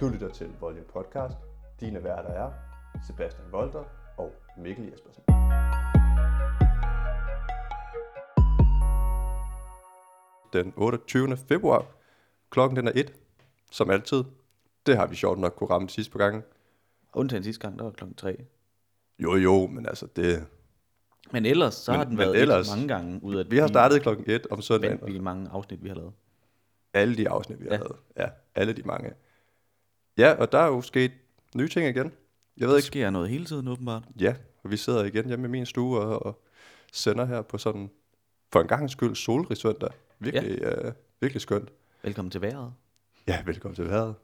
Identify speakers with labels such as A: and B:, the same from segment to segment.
A: Du lytter til Volume Podcast. Dine værter er Sebastian Volter og Mikkel Jespersen. Den 28. februar. Klokken den er 1. Som altid. Det har vi sjovt nok kunne ramme sidst på gangen.
B: Undtagen sidste gang, der var klokken 3.
A: Jo jo, men altså det...
B: Men ellers, så men, har
A: Men-
B: den
A: men
B: været ellers,
A: ellers-
B: mange gange ud af
A: Vi har
B: de
A: startet klokken 1 om søndagen.
B: vanvittige mange afsnit, vi har lavet.
A: Alle de afsnit, vi har ja.
B: Ja.
A: lavet. Ja, alle de mange. Ja, og der er jo sket nye ting igen. Jeg ved
B: Der
A: ikke,
B: sker noget hele tiden, åbenbart.
A: Ja, og vi sidder igen hjemme i min stue og, og sender her på sådan, for en gang skyld, solrig søndag. Virkelig, ja. øh, virkelig skønt.
B: Velkommen til vejret.
A: Ja, velkommen til vejret.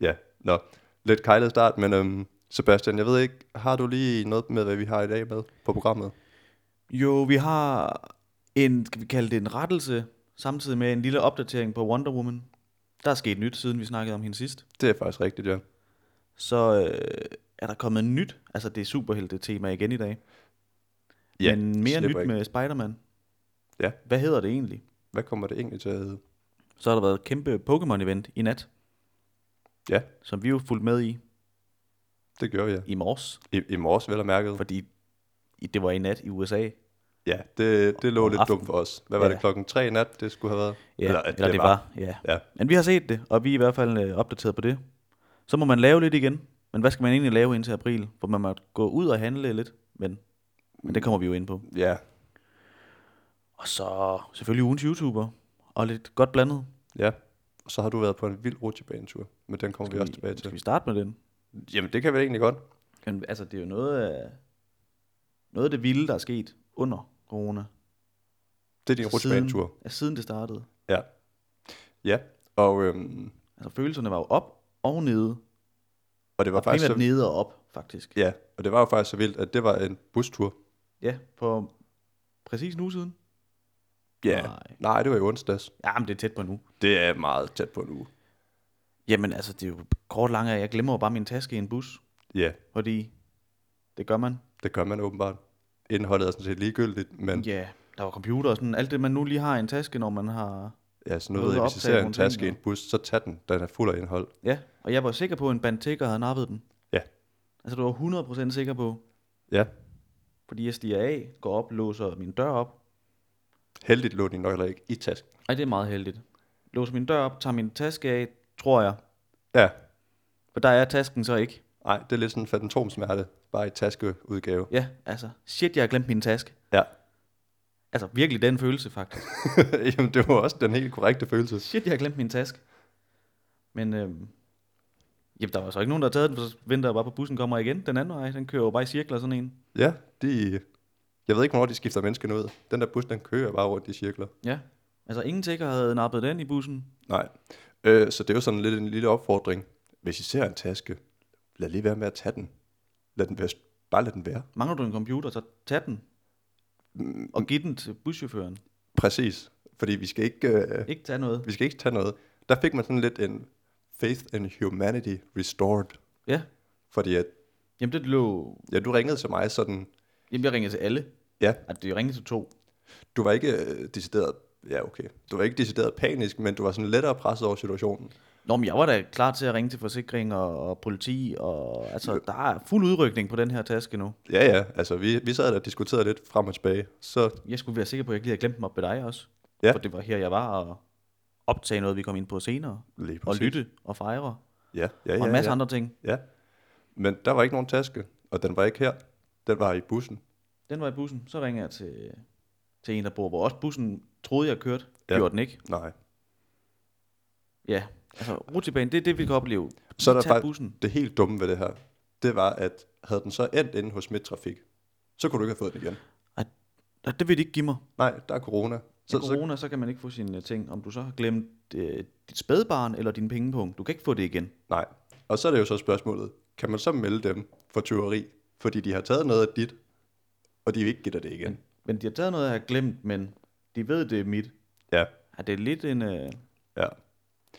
A: Ja, nå, lidt kejlet start, men øhm, Sebastian, jeg ved ikke, har du lige noget med, hvad vi har i dag med på programmet?
B: Jo, vi har en, skal vi kalde det en rettelse, samtidig med en lille opdatering på Wonder Woman. Der er sket nyt, siden vi snakkede om hende sidst.
A: Det er faktisk rigtigt, ja.
B: Så øh, er der kommet nyt, altså det er superhelte-tema igen i dag.
A: Ja,
B: Men mere nyt
A: slipper
B: ikke. med Spider-Man.
A: Ja.
B: Hvad hedder det egentlig?
A: Hvad kommer det egentlig til at hedde?
B: Så har der været et kæmpe Pokémon-event i nat,
A: Ja,
B: som vi jo fulgte med i
A: det gør vi, ja.
B: i morges.
A: I, i morges, vel og mærket.
B: fordi i- det var i nat i USA.
A: Ja, det, det lå
B: Om
A: lidt
B: aftenen.
A: dumt for os. Hvad var
B: Ja.
A: det, klokken tre i nat, det skulle have været?
B: Ja, eller, eller det, det var. var. Ja.
A: Ja,
B: Men vi har set det, og vi er i hvert fald øh, opdateret på det. Så må man lave lidt igen. Men hvad skal man egentlig lave indtil april? Hvor man må gå ud og handle lidt. Men, men det kommer vi jo ind på.
A: ja,
B: Og så selvfølgelig ugens YouTuber. Og lidt godt blandet.
A: Ja, og så har du været på en vild rutsjebanetur, men den kommer vi også tilbage
B: skal
A: til.
B: vi starte med den?
A: Jamen, det kan vi egentlig godt.
B: Jamen, altså, det er jo noget af, noget af det vilde, der er sket under corona. Altså,
A: Det er din rutsjebanetur.
B: Siden, ja, siden det startede.
A: Ja. Ja, og, øhm,
B: Altså, følelserne var jo op og nede.
A: og det var
B: Og
A: faktisk så,
B: primært nede og op, faktisk.
A: ja, og det var jo faktisk så vildt, at det var en bustur.
B: Ja, på præcis nu siden.
A: Ja.
B: Nej.
A: Nej, det var i onsdags.
B: Ja, men det er tæt på nu.
A: Det er meget tæt på en uge.
B: Jamen altså, det er jo kort langt af, jeg glemmer jo bare min taske i en bus,
A: Ja,
B: fordi det gør man.
A: det gør man åbenbart. Indholdet er sådan set ligegyldigt, men
B: Ja, der var computer og sådan, alt det man nu lige har i en taske, når man har...
A: ja, sådan
B: Noget
A: noget,
B: at
A: hvis I
B: optage
A: ser en
B: nogle
A: taske i
B: ting,
A: en bus, så tag den, den er fuld af indhold.
B: Ja, og jeg var sikker på, at en bandtikker havde nappet den.
A: Ja.
B: Altså, du var 100% sikker på,
A: Ja,
B: fordi jeg stiger af, går op, låser min dør op.
A: heldigt lå den nok heller ikke i tasken.
B: Ej, det er meget heldigt. Låser min dør op, tager min taske af, tror jeg.
A: Ja,
B: For der er tasken så ikke.
A: nej, det er lidt sådan en fantomsmerte, bare i taskeudgave.
B: Ja, altså, shit, jeg har glemt min taske.
A: Ja,
B: Altså, virkelig den følelse, faktisk.
A: Jamen, det var også den helt korrekte følelse.
B: Shit, jeg har glemt min taske. Men øhm, jamen, der var så ikke nogen, der havde taget den, for så venter jeg bare på, at bussen kommer igen. Den anden vej, den kører jo bare i cirkler, sådan en.
A: Ja, de... Jeg ved ikke, hvornår de skifter menneskene ud. Den der bus, den kører bare rundt i cirkler.
B: Ja. Altså, ingen tækker havde nappet den i bussen.
A: Nej. Øh, så det er jo sådan lidt en lille opfordring. Hvis I ser en taske, lad lige være med at tage den. Lad den være, bare lad den være.
B: Mangler du en computer, så tag den. Og giv den til buschaufføren.
A: Præcis. Fordi vi skal ikke, øh,
B: Ikke tage noget.
A: vi skal ikke tage noget. Der fik man sådan lidt en faith in humanity restored.
B: Ja.
A: Fordi at,
B: Jamen, det lå...
A: ja, du ringede til mig sådan,
B: Jamen, jeg ringede til alle.
A: ja,
B: Altså, jeg ringede til to.
A: du var ikke øh, decideret, ja okay, du var ikke decideret panisk, men du var sådan lettere presset over situationen.
B: Nå, men jeg var da klar til at ringe til forsikring og, og politi, og altså, der er fuld udrykning på den her taske nu.
A: Ja, ja. Altså, vi, vi sad der og diskuterede lidt frem og tilbage. Så
B: Jeg skulle være sikker på, at jeg ikke lige havde glemt dem op ved dig også.
A: Ja.
B: For det var her, jeg var og optage noget, vi kom ind på senere.
A: lige
B: Og lytte og fejre.
A: Ja, ja,
B: Og
A: ja.
B: en masse
A: ja.
B: andre ting.
A: ja. Men der var ikke nogen taske, og den var ikke her. Den var i bussen.
B: Den var i bussen. Så ringer jeg til, til en, der bor, hvor også bussen troede, jeg kørte.
A: Ja.
B: Ja. Gjorde den ikke.
A: Nej.
B: Ja. Altså, rutsjebanen, det er det, vi kan opleve.
A: Så er der
B: Tag
A: faktisk-
B: bussen.
A: Det helt dumme ved det her, det var, at havde den så endt inde hos midtrafik, så kunne du ikke have fået den igen.
B: Og det vil de ikke give mig.
A: Nej, der er corona.
B: Så,
A: Så,
B: Med corona, så kan man ikke få sine øh, ting. Om du så har glemt øh, dit spædbarn eller din pengepunkt. Du kan ikke få det igen.
A: Så, nej. Og så er det jo så spørgsmålet, kan man så melde dem for tyveri, fordi de har taget noget af dit, og de vil ikke give dig det igen?
B: Men de har taget noget, jeg har glemt, men de ved, det er mit.
A: Ja,
B: Ja, det er lidt en... Øh,
A: ja,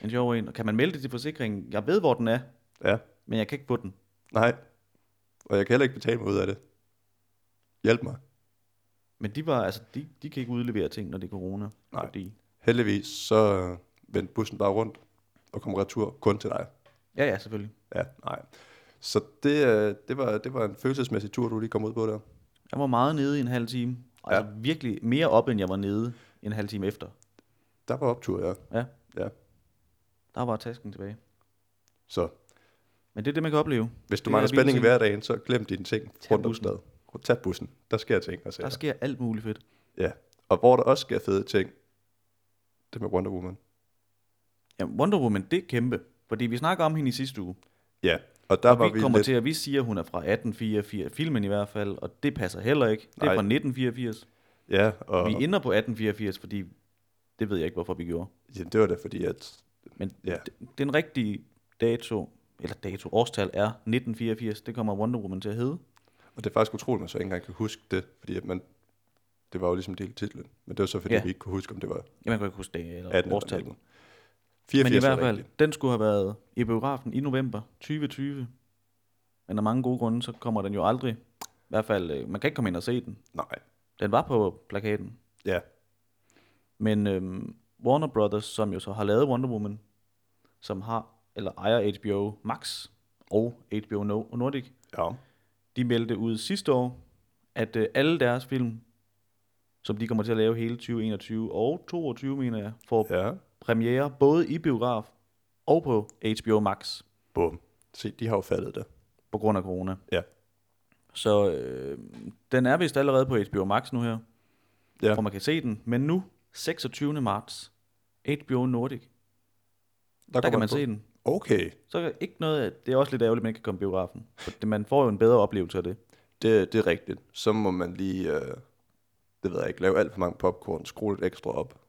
B: En sjov en. Og kan man melde det til forsikringen? Jeg ved, hvor den er,
A: ja.
B: men jeg kan ikke få den.
A: Nej. Og jeg kan heller ikke betale mig ud af det. Hjælp mig.
B: Men de, var, altså, de, de kan ikke udlevere ting, når det er corona.
A: Nej.
B: Fordi,
A: øh, Heldigvis så vendte bussen bare rundt og kom retur kun til dig.
B: Ja, ja, selvfølgelig.
A: Ja, nej. Så det, øh, det, var, det var en følelsesmæssig tur, du lige kom ud på der.
B: Jeg var meget nede i en halv time. Altså ja. virkelig mere op, end jeg var nede en halv time efter.
A: Der var optur, ja.
B: Ja.
A: Ja.
B: Der var tasken tilbage.
A: Så
B: Men det er det, man kan opleve.
A: hvis du
B: Det er
A: mangler
B: vilde
A: spænding i
B: ting.
A: hverdagen, så glem dine ting
B: Tag
A: rundt om
B: bussen.
A: stedet. Tag bussen. Der sker ting og
B: Der
A: sager.
B: sker alt muligt fedt.
A: Ja. Og hvor der også sker fede ting, det er med Wonder Woman.
B: Ja, Wonder Woman, det er kæmpe. Fordi vi snakker om hende i sidste uge.
A: Ja, og der og var
B: Vi,
A: vi,
B: vi kommer
A: lidt...
B: lidt... til, at vi siger, at hun er fra 1884, filmen i hvert fald, og det passer heller ikke. Det er
A: Nej.
B: fra 1984.
A: Ja, og
B: Vi ender på 1884, fordi det ved jeg ikke, hvorfor vi gjorde.
A: jamen, det var da fordi, at...
B: Men
A: Ja,
B: det- den rigtige dato, eller dato, årstal er 1984. Det kommer Wonder Woman til at hedde.
A: og det er faktisk utroligt, at man så ikke engang kan huske det, fordi at man... Det var jo ligesom del titlen, men det var så fordi,
B: Ja.
A: ja. vi ikke kunne huske, om det var
B: Ja, man kan ikke huske det, eller
A: 18 eller
B: årstal.
A: 19.
B: Men
A: 84
B: i hvert
A: var
B: fald,
A: rigtigt.
B: den skulle have været i biografen i november 2020. Men af mange gode grunde, så kommer den jo aldrig. I hvert fald, øh, man kan ikke komme ind og se den.
A: Nej,
B: Den var på plakaten.
A: ja,
B: Men øhm, Warner Brothers, som jo så har lavet Wonder Woman, som har, eller ejer HBO Max og HBO No- og Nordic,
A: ja.
B: de meldte ud sidste år, at øh, alle deres film, som de kommer til at lave hele 2021 og 2022, mener jeg, får ja.
A: Ja,
B: premiere både i biograf og på HBO Max
A: bum. Se, de har jo fattet det.
B: på grund af corona.
A: Ja.
B: Så øh, den er vist allerede på HBO Max nu her,
A: Ja.
B: hvor man kan se den. Men nu, 26. marts, HBO Nordic, der, der kan man
A: på.
B: se den.
A: Okay,
B: Så er der ikke noget, det er også lidt ærgerligt, at man ikke kan komme i biografen. For det- Man får jo en bedre oplevelse af det.
A: det, det er rigtigt. Så må man lige, øh, det ved jeg ikke, lave alt for mange popcorn, skrue lidt ekstra op.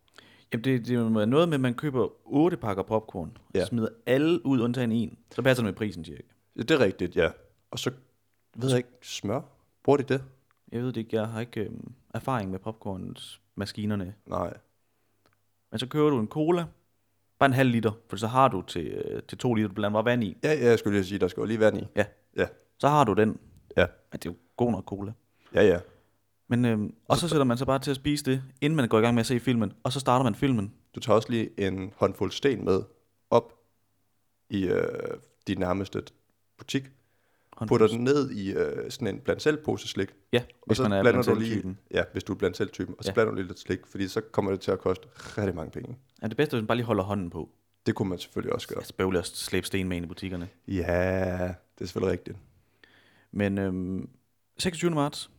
B: Jamen, det, det er noget med, at man køber otte pakker popcorn, ja.
A: Ja.
B: og smider alle ud undtagen en. Så passer det med prisen, cirka.
A: Ja, det er rigtigt, ja. Og så, ved jeg ikke, smør? Bruger de det?
B: Jeg ved det ikke, jeg har ikke øhm, erfaring med popcornsmaskinerne.
A: Nej.
B: Men så køber du en cola, bare en halv liter, for så har du til, øh, til to liter, du blander bare vand i.
A: Ja, ja, jeg skulle lige sige, der skal jo lige vand i.
B: Ja,
A: Ja,
B: så har du den.
A: ja,
B: Ja, det er jo god nok cola.
A: ja, ja.
B: Men, øhm, og så sætter man sig bare til at spise det, inden man går i gang med at se filmen. Og så starter man filmen.
A: Du tager også lige en håndfuld sten med op i øh, din nærmeste butik,
B: Håndfuld
A: putter den ned i øh, sådan en bland selv pose slik,
B: Ja,
A: og
B: hvis
A: så
B: man er
A: blander
B: blandt
A: du
B: selv
A: lige,
B: typen.
A: ja, hvis du er blandt selv typen, og så
B: Ja.
A: blander du lige lidt slik, fordi så kommer det til at koste rigtig mange penge.
B: Ja, det bedste er, hvis man bare lige holder hånden på.
A: Det kunne man selvfølgelig også gøre.
B: Jeg spøvler og slæbe sten med ind i butikkerne.
A: Ja, det er selvfølgelig rigtigt.
B: Men øhm, 26. marts,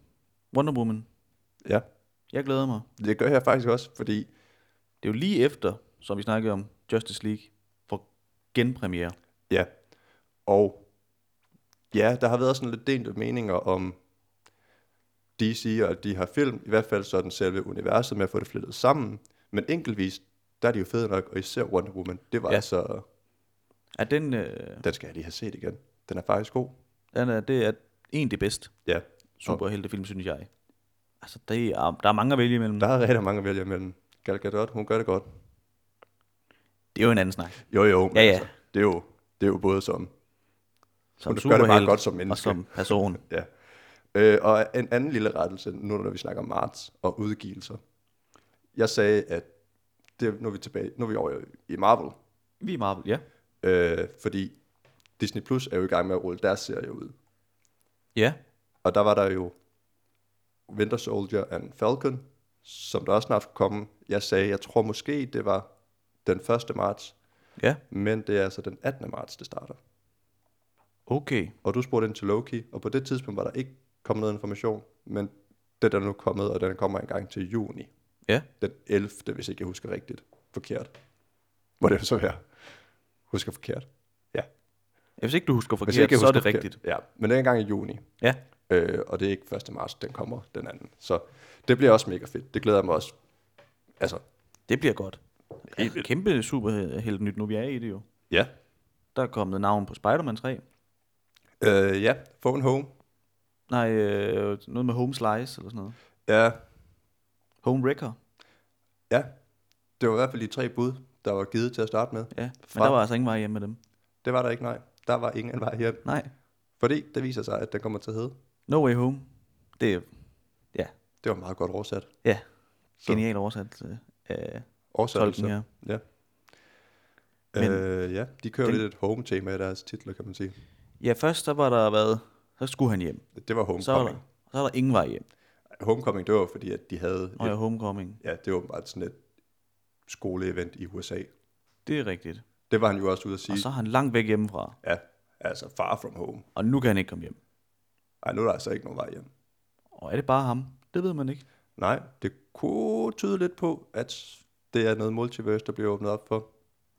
B: Wonder Woman.
A: Ja,
B: Jeg glæder mig.
A: det gør jeg faktisk også, fordi
B: Det er jo lige efter, som vi snakkede om, Justice League for genpremiere.
A: Ja, og ja, der har været sådan lidt delte meninger om DC og de her film, i hvert fald sådan selve universet med at få det flettet sammen, men enkeltvis, der er de jo fede nok, og især Wonder Woman, det var
B: Ja.
A: ja. altså,
B: Er den, øh,
A: den skal jeg lige have set igen. Den er faktisk god.
B: den er, det er en af de bedste
A: Ja,
B: superheltefilm, synes jeg. Altså, det er, der er mange at vælge imellem.
A: der er rigtig mange at vælge imellem. Gal Gadot, hun gør det godt.
B: Det er jo en anden snak.
A: Jo, jo, men altså,
B: Ja, ja.
A: det, er jo, det er jo både som,
B: Som
A: Hun gør det meget
B: superhelt
A: godt som
B: Og
A: menneske.
B: som person.
A: ja. Øh, og en anden lille rettelse, nu når vi snakker om marts og udgivelser. Jeg sagde, at det, nu, er vi tilbage, nu er vi over i Marvel,
B: Vi er Marvel, ja.
A: øh, fordi Disney Plus er jo i gang med at rulle deres serie ud.
B: Ja,
A: Og der var der jo Winter Soldier and Falcon, som der også snart skulle komme. Jeg sagde, jeg tror måske, det var den 1. marts,
B: ja.
A: men det er altså den 18. marts, det starter.
B: Okay.
A: Og du spurgte ind til Loki, og på det tidspunkt var der ikke kommet noget information, men det er der nu kommet, og den kommer engang til juni.
B: Ja.
A: Den 11., hvis ikke jeg husker rigtigt. Forkert. Må det så være? Husker forkert. Ja.
B: Hvis ikke du husker forkert,
A: Hvis ikke jeg
B: så er
A: husker
B: det
A: forkert.
B: rigtigt.
A: Ja, men det er engang i juni.
B: Ja.
A: Øh, og det er ikke 1. marts, den kommer den anden. Så det bliver også mega fedt. Det glæder jeg mig også. Altså,
B: Det bliver godt. Kæmpe superhelt nyt, nu vi er i det jo.
A: ja.
B: Der er kommet navn på Spider-Man 3.
A: Øh, ja, Phone Home.
B: Nej, øh, noget med Home Slice eller sådan noget.
A: Ja,
B: Home Wrecker,
A: ja. Det var i hvert fald de tre bud, der var givet til at starte med.
B: ja. Men
A: Fra-
B: der var altså ingen vej hjem med dem.
A: Det var der ikke, nej. Der var ingen vej hjem.
B: Nej.
A: Fordi det viser sig, at den kommer til at hedde.
B: No Way Home. Det er, ja,
A: Det var meget godt oversat.
B: ja.
A: Så.
B: Genial oversat øh, af
A: Oversat
B: tolken her.
A: Ja.
B: Men-
A: Men, øh, ja, de kører
B: Den-
A: den... lidt et home-tema i deres titler, kan man sige.
B: Ja, først så var der været, så skulle han hjem.
A: Det var
B: Så var,
A: Homecoming.
B: der, så var der ingen vej hjem.
A: Homecoming, det var fordi, at de havde...
B: Og ja.
A: Et,
B: homecoming.
A: ja, det var åbenbart sådan et skoleevent i USA.
B: Det er rigtigt.
A: Det var han jo også ude at sige.
B: Og så er han langt væk hjemmefra.
A: Ja, altså far from home.
B: Og nu kan han ikke komme hjem.
A: Ej, nu er der altså ikke nogen vej hjem.
B: Og er det bare ham? Det ved man ikke.
A: Nej, det kunne tyde lidt på, at det er noget multiverse, der bliver åbnet op for.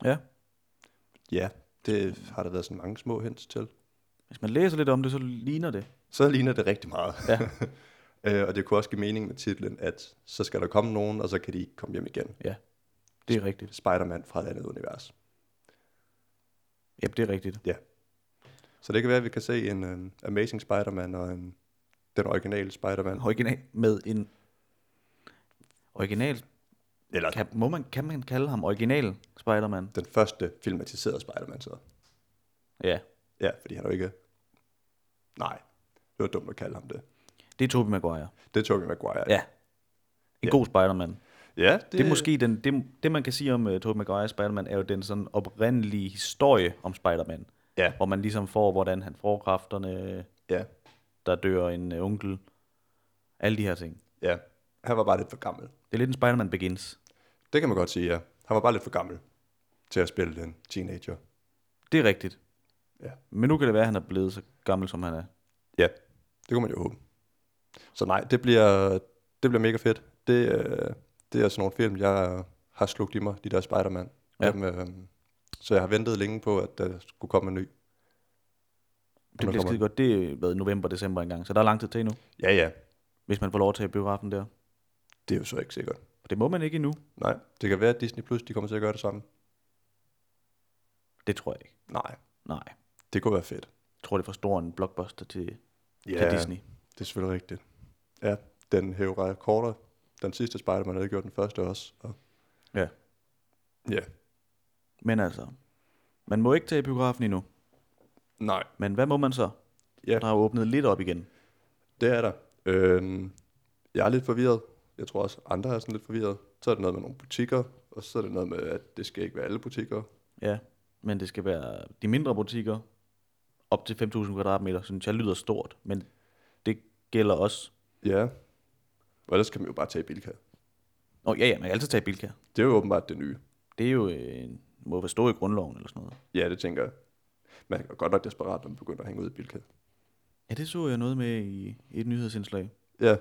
B: Ja.
A: Ja, det har der været sådan mange små hints til.
B: Hvis man læser lidt om det, så ligner det.
A: Så ligner det rigtig meget.
B: Ja.
A: øh, og det kunne også give mening med titlen, at så skal der komme nogen, og så kan de ikke komme hjem igen.
B: Ja, det er rigtigt.
A: Spider-Man fra et andet univers.
B: Ja, det er rigtigt.
A: Så det kan være, at vi kan se en um, Amazing Spider-Man og en, den originale Spider-Man.
B: Original med en... Original...
A: Eller
B: Kan, må man, kan man kalde ham original Spider-Man?
A: den første filmatiserede Spider-Man så.
B: Ja.
A: Ja, fordi han er jo ikke... Nej, det var dumt at kalde ham det.
B: Det er Tobey Maguire.
A: Det er Tobey Maguire.
B: Ja. En ja.
A: Ja.
B: god Spider-Man.
A: ja det,
B: Det er måske den, det, det man kan sige om uh, Tobey Maguire Spider-Man, er jo den sådan oprindelige historie om Spider-Man.
A: Ja.
B: Hvor man ligesom får, hvordan han får kræfterne,
A: Ja,
B: der dør en uh, onkel, alle de her ting.
A: ja. Han var bare lidt for gammel.
B: Det er lidt en Spider-Man Begins.
A: Det kan man godt sige, ja. Han var bare lidt for gammel til at spille en teenager.
B: Det er rigtigt.
A: Ja.
B: Men nu kan det være, at han er blevet så gammel, som han er.
A: Ja, det kunne man jo håbe. Så nej, det bliver, det bliver mega fedt. Det, øh, det er sådan nogle film, jeg har slugt i mig, de der Spider-Man.
B: Ja.
A: Ja. Dem, øh, så jeg har ventet længe på, at der skulle komme en ny.
B: Det bliver
A: kommer
B: skide godt. Det har været november, december engang, så der er lang tid til endnu,
A: Ja, ja.
B: hvis man får lov til at biografen der.
A: Det er jo så ikke sikkert.
B: For det må man ikke endnu.
A: Nej, det kan være, at Disney Plus de kommer til at gøre det samme.
B: Det tror jeg ikke.
A: Nej,
B: Nej.
A: det kunne være fedt.
B: Jeg tror, det er for stor en blockbuster til, yeah. til Disney.
A: det er selvfølgelig rigtigt. Ja, den hæver rekorder. Den sidste Spider-Man havde gjort den første også. Og...
B: Ja.
A: Ja.
B: Men altså, man må ikke tage i biografen endnu.
A: Nej,
B: Men hvad må man så?
A: Ja.
B: Der er jo åbnet lidt op igen.
A: det er der. Øhm, jeg er lidt forvirret. Jeg tror også, andre er sådan lidt forvirret. Så er det noget med nogle butikker, og så er det noget med, at det skal ikke være alle butikker.
B: Ja, men det skal være de mindre butikker, op til 5.000 kvadratmeter, synes jeg lyder stort, men det gælder også.
A: Ja. Og ellers kan man jo bare tage Bilka.
B: Nå ja, ja, man kan altid tage Bilka.
A: Det er jo åbenbart det nye.
B: Det er jo øh, en må være stå i grundloven eller sådan noget.
A: Ja, det tænker jeg. Man er godt nok desperat, når man begynder at hænge ud i Bilka.
B: Ja, det så jeg noget med i, i et nyhedsindslag.
A: Ja,
B: At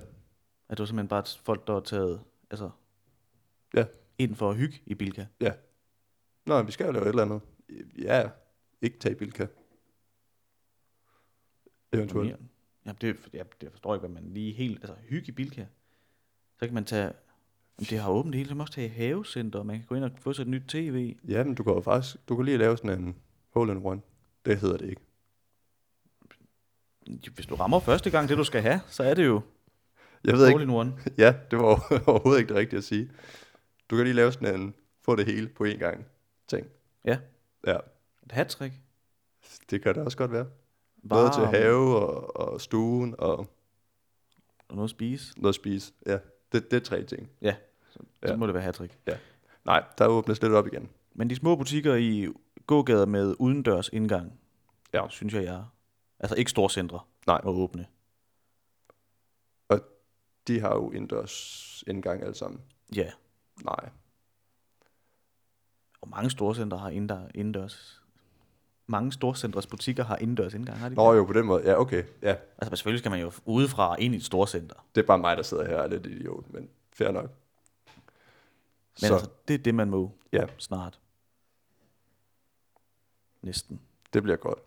B: det var simpelthen bare folk, der var taget altså,
A: Ja.
B: ind for at hygge i Bilka.
A: ja. Nå, vi skal jo lave et eller andet. Ja, ikke tage Bilka. Eventuelt.
B: Jamen, ja, det, ja, det forstår jeg ikke, hvad man lige helt... Altså, hygge i Bilka. Så kan man tage... Jamen, det har åbent det hele, så kan man også tage i havecenter, og man kan gå ind og få sig et nyt tv.
A: Ja, men du kan jo faktisk, du kan lige lave sådan en hole in one. Det hedder det ikke.
B: Hvis du rammer første gang det, du skal have, så er det jo
A: Jeg ved
B: all
A: ikke,
B: in one.
A: ja, det var overhovedet ikke det rigtige at sige. Du kan lige lave sådan en, få det hele på én gang ting.
B: Ja.
A: Ja,
B: Et hattrick.
A: det kan det også godt være. Både
B: Varm,
A: til have og, og stuen og
B: Og noget at spise.
A: noget at spise. Ja, det, det er tre ting.
B: Ja, så, ja. så
A: Ja.
B: må det være hattrick.
A: Nej, der åbnes lidt op igen.
B: Men de små butikker i gågader med udendørs indgang,
A: Ja.
B: synes jeg, jeg Altså ikke store centre
A: Nej.
B: og åbne.
A: De har jo indendørs indgang alle sammen.
B: Ja,
A: Nej,
B: og mange store centre har indendør- indendørs. Mange store centres butikker har indendørs indgang, har de? ikke?
A: Nå jo, på den måde. Ja, okay. Ja,
B: Altså men selvfølgelig skal man jo udefra og ind i et storcenter.
A: det er bare mig, der sidder her og er lidt idiot, men fair nok.
B: Men
A: Så.
B: så. altså, det er det, man må
A: Ja.
B: snart. Næsten.
A: Det bliver godt.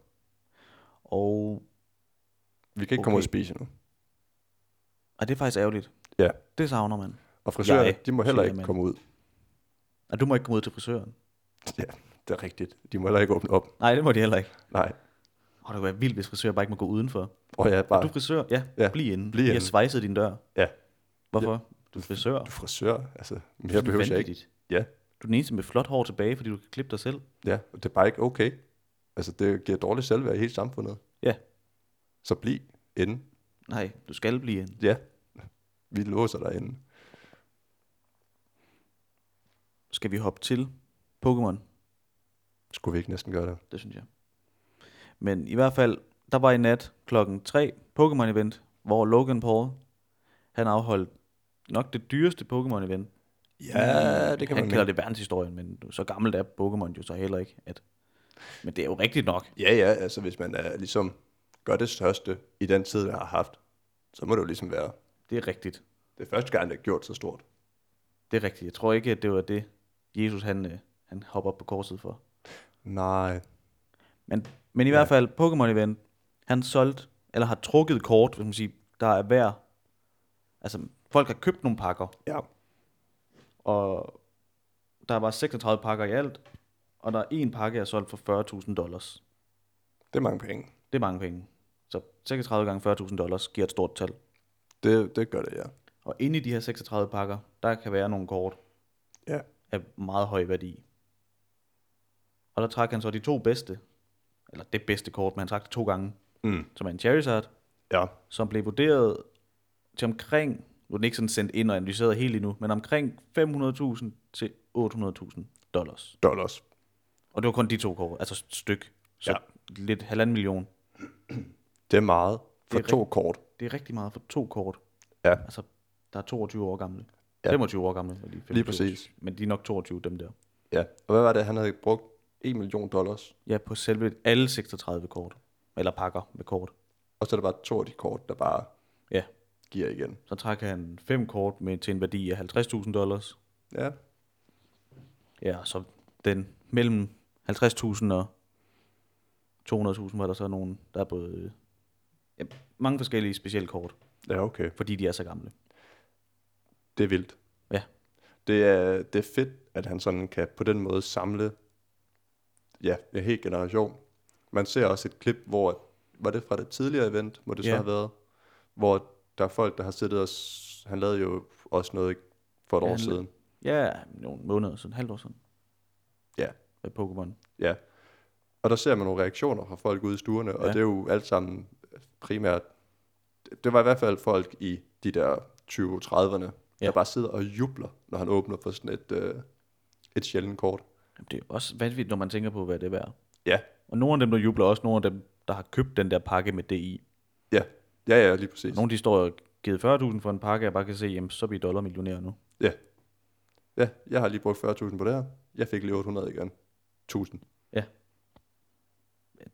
B: Og,
A: Vi kan ikke okay. komme ud
B: Okay.
A: og spise nu.
B: og det er faktisk ærgerligt.
A: Ja.
B: Det savner man.
A: Og frisører,
B: Jeg
A: jeg, de må heller
B: siger
A: ikke
B: man.
A: komme ud.
B: Og du må ikke komme ud til frisøren.
A: Det er rigtigt. De må heller ikke åbne op.
B: Nej, det må de heller ikke.
A: Nej.
B: Og det kunne være vildt, hvis frisører bare ikke må gå udenfor.
A: Og jeg er bare,
B: Du er frisør? Ja, ja.
A: Ja,
B: bliv inde.
A: bliv
B: Bliv inde. har
A: inde.
B: svejset din dør.
A: Ja.
B: Hvorfor? Du er frisør.
A: du er frisør. Altså, mere behøver jeg ikke.
B: Vanvittigt.
A: Ja.
B: Du er den eneste med flot hår tilbage, fordi du kan klippe dig selv.
A: Ja, og det er bare ikke okay. Altså, det giver dårligt selvværd i hele samfundet.
B: Ja.
A: Så bliv inde.
B: Nej, du skal blive inde.
A: Ja. Vi låser dig inde.
B: Skal vi hoppe til Pokémon?
A: Skulle vi ikke næsten gøre det?
B: Det synes jeg. Men i hvert fald, der var i nat klokken 3 Pokémon-event, hvor Logan Paul, han afholdt nok det dyreste Pokémon-event.
A: Ja, det kan
B: han
A: man
B: kalder
A: mene.
B: det verdenshistorien, men så gammelt er Pokémon jo så heller ikke. At... Men det er jo rigtigt nok.
A: Ja, ja, altså hvis man er, ligesom gør det største i den tid, jeg har haft, så må det jo ligesom være,
B: Det er rigtigt.
A: det er første gang, det er gjort så stort.
B: Det er rigtigt. Jeg tror ikke, at det var det, Jesus han, øh, han hopper op på korset for.
A: Nej.
B: Men, men i ja. hvert fald, Pokémon Event, han solgt, eller har trukket kort, hvis man siger, der er hver, altså folk har købt nogle pakker,
A: Ja.
B: og der var 36 pakker i alt, og der er en pakke, der er solgt for 40.000 dollars.
A: Det er mange penge.
B: Det er mange penge. Så 36 gange 40.000 dollars giver et stort tal.
A: Det, det gør det, ja.
B: Og inde i de her 36 pakker, der kan være nogle kort
A: Ja.
B: af meget høj værdi. Og der trak han så de to bedste, eller det bedste kort, men han trak det to gange,
A: Mm.
B: som er en Charizard,
A: Ja.
B: som blev vurderet til omkring, nu er den ikke sådan sendt ind og analyseret helt endnu, men omkring 500.000 til 800.000 dollars.
A: Dollars.
B: Og det var kun de to kort, altså styk. Så
A: Ja.
B: ja. lidt halvanden million.
A: Det er meget for
B: Det er
A: to kort.
B: Det er rigtig meget for to kort.
A: Ja.
B: Altså, der er 22 år gamle.
A: Ja.
B: Ja. 25 år gamle. Og de er 25.
A: Lige præcis.
B: Men de er nok 22, dem der.
A: Ja. Og hvad var det, han havde brugt? 1 million dollars.
B: Ja, på selve alle 36 kort. Eller pakker med kort.
A: Og så er der bare to af de kort, der bare
B: Ja,
A: giver igen.
B: så trak han fem kort med til en værdi af 50.000 dollars.
A: Ja.
B: Ja, så den mellem 50.000 og 200.000 var der så nogen, der er både øh, ja, mange forskellige specielle kort,
A: Ja, okay.
B: fordi de er så gamle.
A: Det er vildt.
B: Ja,
A: Det er, det er fedt, at han sådan kan på den måde samle ja, en hel generation. Man ser også et klip, hvor, var det fra det tidligere event, må det så
B: Ja.
A: have været, hvor der er folk, der har siddet og, s- han lavede jo også noget ikke, for et
B: Ja,
A: år
B: han la-
A: siden.
B: ja nogle måneder siden, halvt år siden.
A: Ja.
B: Af Pokémon.
A: Ja. Og der ser man nogle reaktioner fra folk ude i stuerne, og
B: Ja.
A: det er jo alt sammen primært, det var i hvert fald folk i de der 20-30'erne, ja. der
B: Ja.
A: bare sidder og jubler, når han åbner for sådan et, øh, et sjældent kort.
B: Jamen, det er også vanvittigt, når man tænker på, hvad det er værd.
A: Ja,
B: Og nogle af dem, der jubler, også nogle af dem, der har købt den der pakke med DI.
A: ja, ja, ja lige præcis.
B: Nogle de står og givet 40.000 for en pakke, og jeg bare kan se, jamen, så bliver dollar millionær nu.
A: Ja. Ja, jeg har lige brugt 40.000 på det her. Jeg fik lige 800 igen. 1000.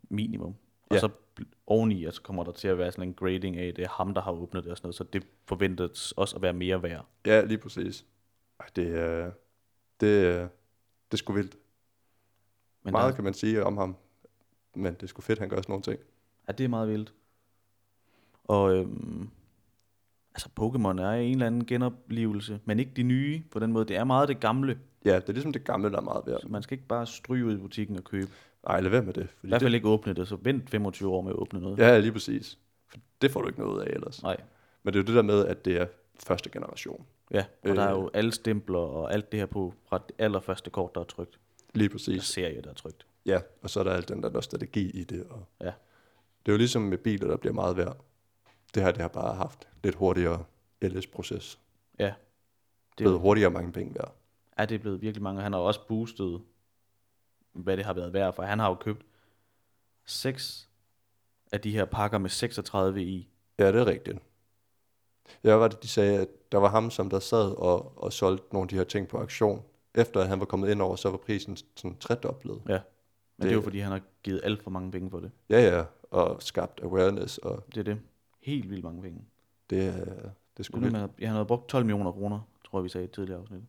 B: minimum. Og
A: Ja.
B: ja. så bl- oveni, at så kommer der til at være sådan en grading af, det er ham, der har åbnet det og sådan noget, så det forventes også at være mere værd.
A: Ja, lige præcis. Ej, Det, øh, det, øh, det er sgu vildt.
B: Men
A: Meget
B: Der,
A: kan man sige om ham. Men det er sgu fedt, han gør sådan nogle ting.
B: ja, det er meget vildt. Og øhm, altså Pokémon er en eller anden genoplevelse, men ikke de nye på den måde. Det er meget det gamle,
A: Ja, det er ligesom det gamle, der er meget værd.
B: så man skal ikke bare stryge ud i butikken og købe.
A: Ej, lad være med det.
B: I
A: Fordi
B: hvert
A: det
B: fald ikke åbne det, så vent 25 år med at åbne noget.
A: ja, lige præcis. For det får du ikke noget af ellers.
B: Nej,
A: Men det er jo det der med, at det er første generation.
B: ja, og
A: Øh.
B: øh. der er jo alle stempler og alt det her på fra det allerførste kort, der er trygt.
A: Lige
B: Der
A: præcis.
B: serie, der er trygt.
A: Ja, og så er der alt den der nostalgi i det. Og
B: Ja.
A: det er jo ligesom med biler, der bliver meget værd. Det her, det har bare haft lidt hurtigere LS-proces.
B: Ja,
A: Det er blevet hurtigere mange penge værd.
B: er det blevet virkelig mange. Han har også boostet, hvad det har været værd, for han har jo købt seks af de her pakker med 36 i.
A: Ja, det er rigtigt. Ja, hvad var det, de sagde, at der var ham, som der sad og, og solgte nogle af de her ting på auktion. Efter at han var kommet ind over, så var prisen sådan tredoblet.
B: Ja. Men det, det er
A: Det-
B: jo, fordi han har givet alt for mange penge for det.
A: Ja, ja, og skabt awareness, og
B: Det er det. Helt vildt mange penge.
A: det, er- det er sgu
B: Det er
A: vildt.
B: med, han havde brugt 12 millioner kroner, tror jeg, vi sagde i et tidligere afsnit.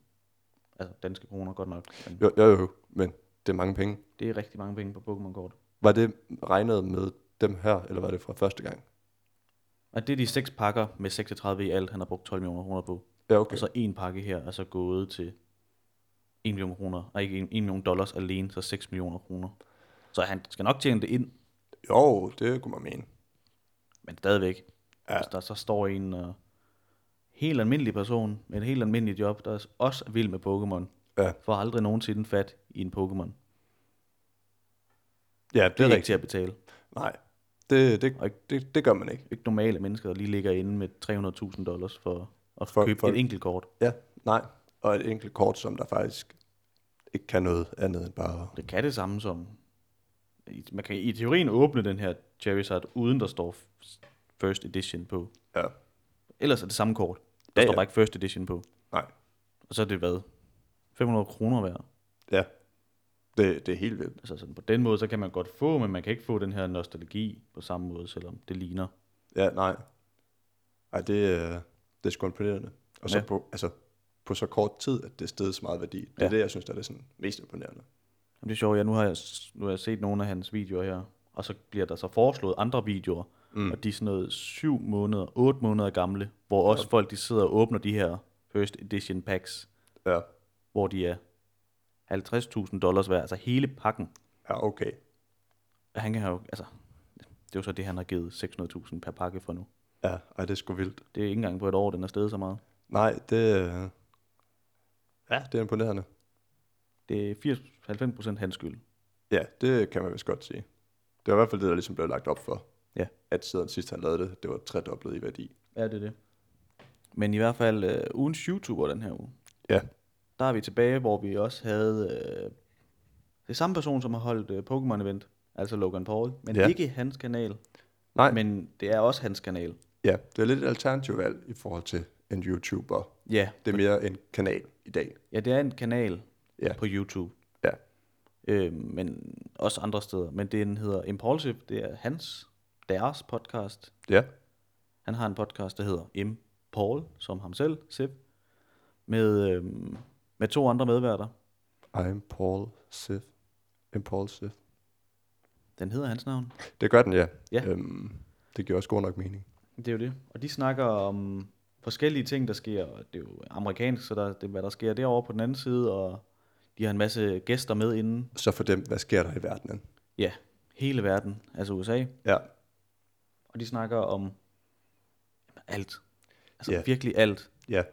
B: Altså danske kroner, godt nok. Men
A: Jo, jo, jo, men det er mange penge.
B: det er rigtig mange penge på Pokémon-kort.
A: Var det regnet med dem her, eller var det fra første gang?
B: Og det er de seks pakker med 36 i alt, han har brugt 12 millioner kroner på.
A: Ja, okay.
B: Og så en pakke her er så gået til 1 million kroner, og ikke 1 million dollars alene, så 6 millioner kroner. Så han skal nok tjene det ind,
A: Jo, det kunne man mene.
B: men stadigvæk.
A: Ja.
B: Ja. Hvis der så står en uh, helt almindelig person med et helt almindeligt job, der også er vild med Pokémon,
A: Ja,
B: får aldrig nogensinde fat i en Pokémon.
A: ja det,
B: Det
A: er
B: er ikke
A: rigtigt.
B: til at betale.
A: Nej, det,
B: Og
A: det, det, det gør man ikke.
B: Ikke normale mennesker, der lige ligger inde med 300.000 dollars for at
A: For-
B: for, købe
A: for-
B: for. et enkelt kort.
A: Ja, nej. Og et enkelt kort, som der faktisk ikke kan noget andet end bare...
B: Det kan det samme som... i- Man kan i teorien åbne den her Charizard, uden der står f- First Edition på.
A: Ja,
B: Ellers er det samme kort. Der
A: Ja,
B: står
A: ja.
B: bare ikke First Edition på.
A: nej.
B: Og så er det hvad? 500 kroner værd.
A: Ja, det, det er helt vildt.
B: Altså sådan på den måde, så kan man godt få, men man kan ikke få den her nostalgi på samme måde, selvom det ligner.
A: Ja, nej. Ej, det, øh, det er sgu imponerende. Og så
B: Ja.
A: ja. på, altså, på så kort tid, at det steg så meget værdi. Det er
B: Ja.
A: ja. det, jeg synes, der er det sådan mest imponerende.
B: Jamen, det er sjovt, ja, nu har jeg, s- nu har jeg set nogle af hans videoer her, og så bliver der så foreslået andre videoer, mm. og de er sådan noget syv måneder, otte måneder gamle, hvor også folk de sidder og åbner de her first edition packs,
A: Ja,
B: hvor de er 50.000 dollars værd, altså hele pakken.
A: ja okay.
B: Og Han kan have, jo- altså, det er jo så det, han har givet 600.000 per pakke for nu.
A: Ja, ej, det er sgu vildt.
B: Det er ikke engang på et år, den er steget så meget.
A: Nej, det, øh, ja, det er imponerende.
B: Det er 80, 90% hans skyld.
A: Ja, det kan man vist godt sige. Det var i hvert fald det, der ligesom blev lagt op for.
B: Ja.
A: At siden sidst han lavede det, det var tredoblet i værdi.
B: Ja, det er det. Men i hvert fald øh, ugens YouTuber den her uge.
A: Ja.
B: Der er vi tilbage, hvor vi også havde øh, det samme person, som har holdt øh, Pokémon-event, altså Logan Paul, men ja.
A: Ja.
B: ikke hans kanal.
A: Nej.
B: Men det er også hans kanal.
A: Ja, det er lidt et alternativt valg i forhold til en YouTuber.
B: Ja,
A: Det er mere en kanal i dag.
B: ja det er en kanal ja.
A: Ja.
B: på YouTube,
A: Ja,
B: øh, men også andre steder. Men den hedder Impulsive, det er hans, deres podcast.
A: ja,
B: Han har en podcast, der hedder M. Paul, som ham selv, Sip, med, øh, med to andre medværter.
A: I'm Paul Sith. Impulsive.
B: Den hedder hans navn.
A: Det gør den, ja.
B: Ja.
A: Øhm, det giver også god nok mening.
B: Det er jo det. Og de snakker om forskellige ting, der sker. Og Det er jo amerikansk, så der, det, er, hvad der sker derovre på den anden side, og de har en masse gæster med inden.
A: Så for dem, hvad sker der i verdenen?
B: Ja, hele verden, altså USA.
A: Ja,
B: Og de snakker om jamen, alt. Altså
A: Ja.
B: yeah. virkelig alt.
A: ja,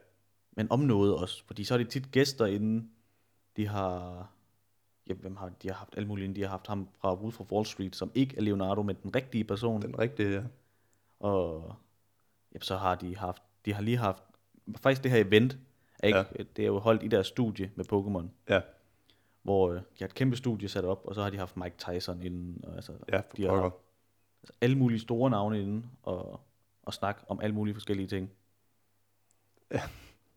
B: Men om noget også, fordi så er de tit gæster inden. De har... Ja, hvem har de har haft alt muligt inden. De har haft ham fra Wolf of Wall Street, som ikke er Leonardo, men den rigtige person.
A: den rigtige, ja.
B: Og ja, så har de haft, de har lige haft, faktisk det her event, er ikke, ja. det er jo holdt i deres studie med Pokémon,
A: Ja,
B: hvor øh, de har et kæmpe studie sat op, og så har de haft Mike Tyson inden, og altså,
A: ja, for
B: de har
A: pokker.
B: haft altså, alle mulige store navne inden, og, og snak om alle mulige forskellige ting.
A: Ja.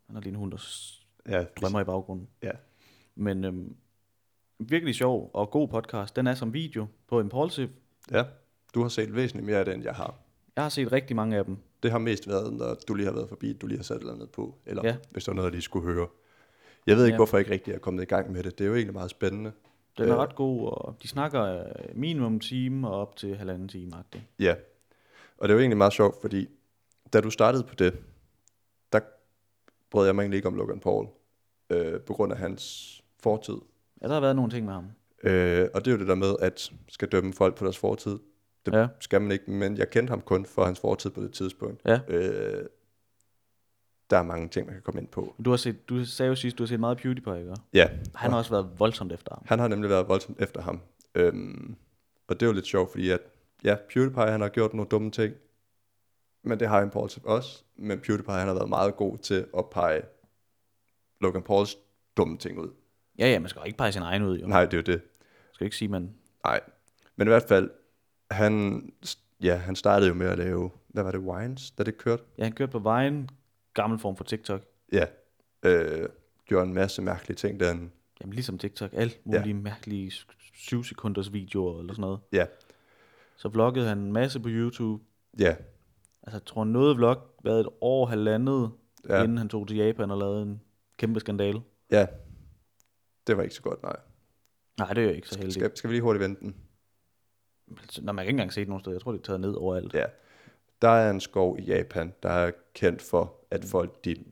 B: Han har lige en hund, der s-
A: Ja,
B: drømmer i baggrunden.
A: ja,
B: Men øhm, virkelig sjov og god podcast. Den er som video på Impulsive.
A: ja. Du har set væsentligt mere af det, end jeg har.
B: Jeg har set rigtig mange af dem.
A: Det har mest været, når du lige har været forbi, du lige har sat et eller andet på, eller
B: Ja.
A: ja. hvis der er noget, jeg lige skulle høre. Jeg ved ikke,
B: Ja.
A: ja. hvorfor jeg ikke rigtig er kommet i gang med det. Det er jo egentlig meget spændende.
B: Den er
A: Øh.
B: ret god, og de snakker øh, minimum en time og op til halvanden time. -agtigt.
A: Ja, og det er jo egentlig meget sjovt, fordi da du startede på det, der brød jeg mig egentlig ikke om Logan Paul, øh, på grund af hans fortid.
B: Ja, der har været nogle ting med ham.
A: Øh, og det er jo det der med, at skal dømme folk på deres fortid. Det
B: Ja.
A: ja. skal man ikke, men jeg kendte ham kun for hans fortid på det tidspunkt.
B: Ja.
A: Øh, der er mange ting, man kan komme ind på.
B: Men Du, har set, du sagde jo sidst, du har set meget PewDiePie, ikke?
A: Ja,
B: Han har også været voldsomt efter ham.
A: Han har nemlig været voldsomt efter ham. Øhm, og det er jo lidt sjovt, fordi at, ja, PewDiePie han har gjort nogle dumme ting, men det har Impulsive også. Men PewDiePie han har været meget god til at pege Logan Pauls dumme ting ud.
B: Ja, ja, man skal jo ikke pege sin egen ud, jo. Man
A: Nej, det er jo det.
B: skal jo ikke sige, man...
A: Nej. Men i hvert fald, han, ja, han startede jo med at lave, hvad var det, Wines, da det kørte?
B: Ja, han kørte på vejen, gammel form for TikTok.
A: Ja. Øh, gjorde en masse mærkelige ting derinde.
B: Jamen, ligesom TikTok, alt mulige ja. mærkelige 7 sekunders videoer eller sådan noget.
A: Ja,
B: Så vloggede han en masse på YouTube.
A: ja,
B: Altså, jeg tror, noget vlog været et år og halvandet, ja.
A: Ja.
B: inden han tog til Japan og lavede en kæmpe skandale.
A: ja. Det var ikke så godt, nej.
B: Nej, det er jo ikke så heldigt.
A: Skal, skal vi lige hurtigt vente den?
B: Altså, Nå, man kan ikke engang se det nogen steder. Jeg tror, det er taget ned overalt.
A: Ja. Der er en skov i Japan, der er kendt for, at folk de
B: øh,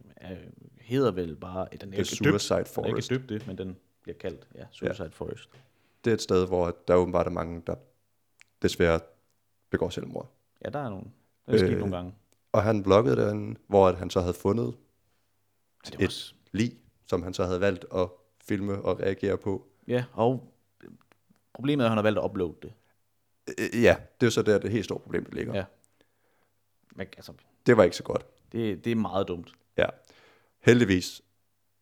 B: hedder vel bare, den er
A: The
B: ikke døbt,
A: Suicide
B: den er ikke
A: Forest.
B: døbt det, men den bliver kaldt, ja, Suicide ja. Forest.
A: Det er et sted, hvor der åbenbart er mange, der desværre begår selvmord.
B: Ja, der er nogle, der er sket
A: Øh,
B: nogle gange.
A: Og han bloggede den, hvor at han så havde fundet
B: Men det var
A: et
B: også,
A: lig, som han så havde valgt at filme og reagere på.
B: ja, og problemet er, at han har valgt at uploade det.
A: Øh, Ja, det er jo så der, det helt store problem det ligger.
B: Ja.
A: Ja.
B: Men altså,
A: Det var ikke så godt.
B: det, det er meget dumt.
A: Ja. Heldigvis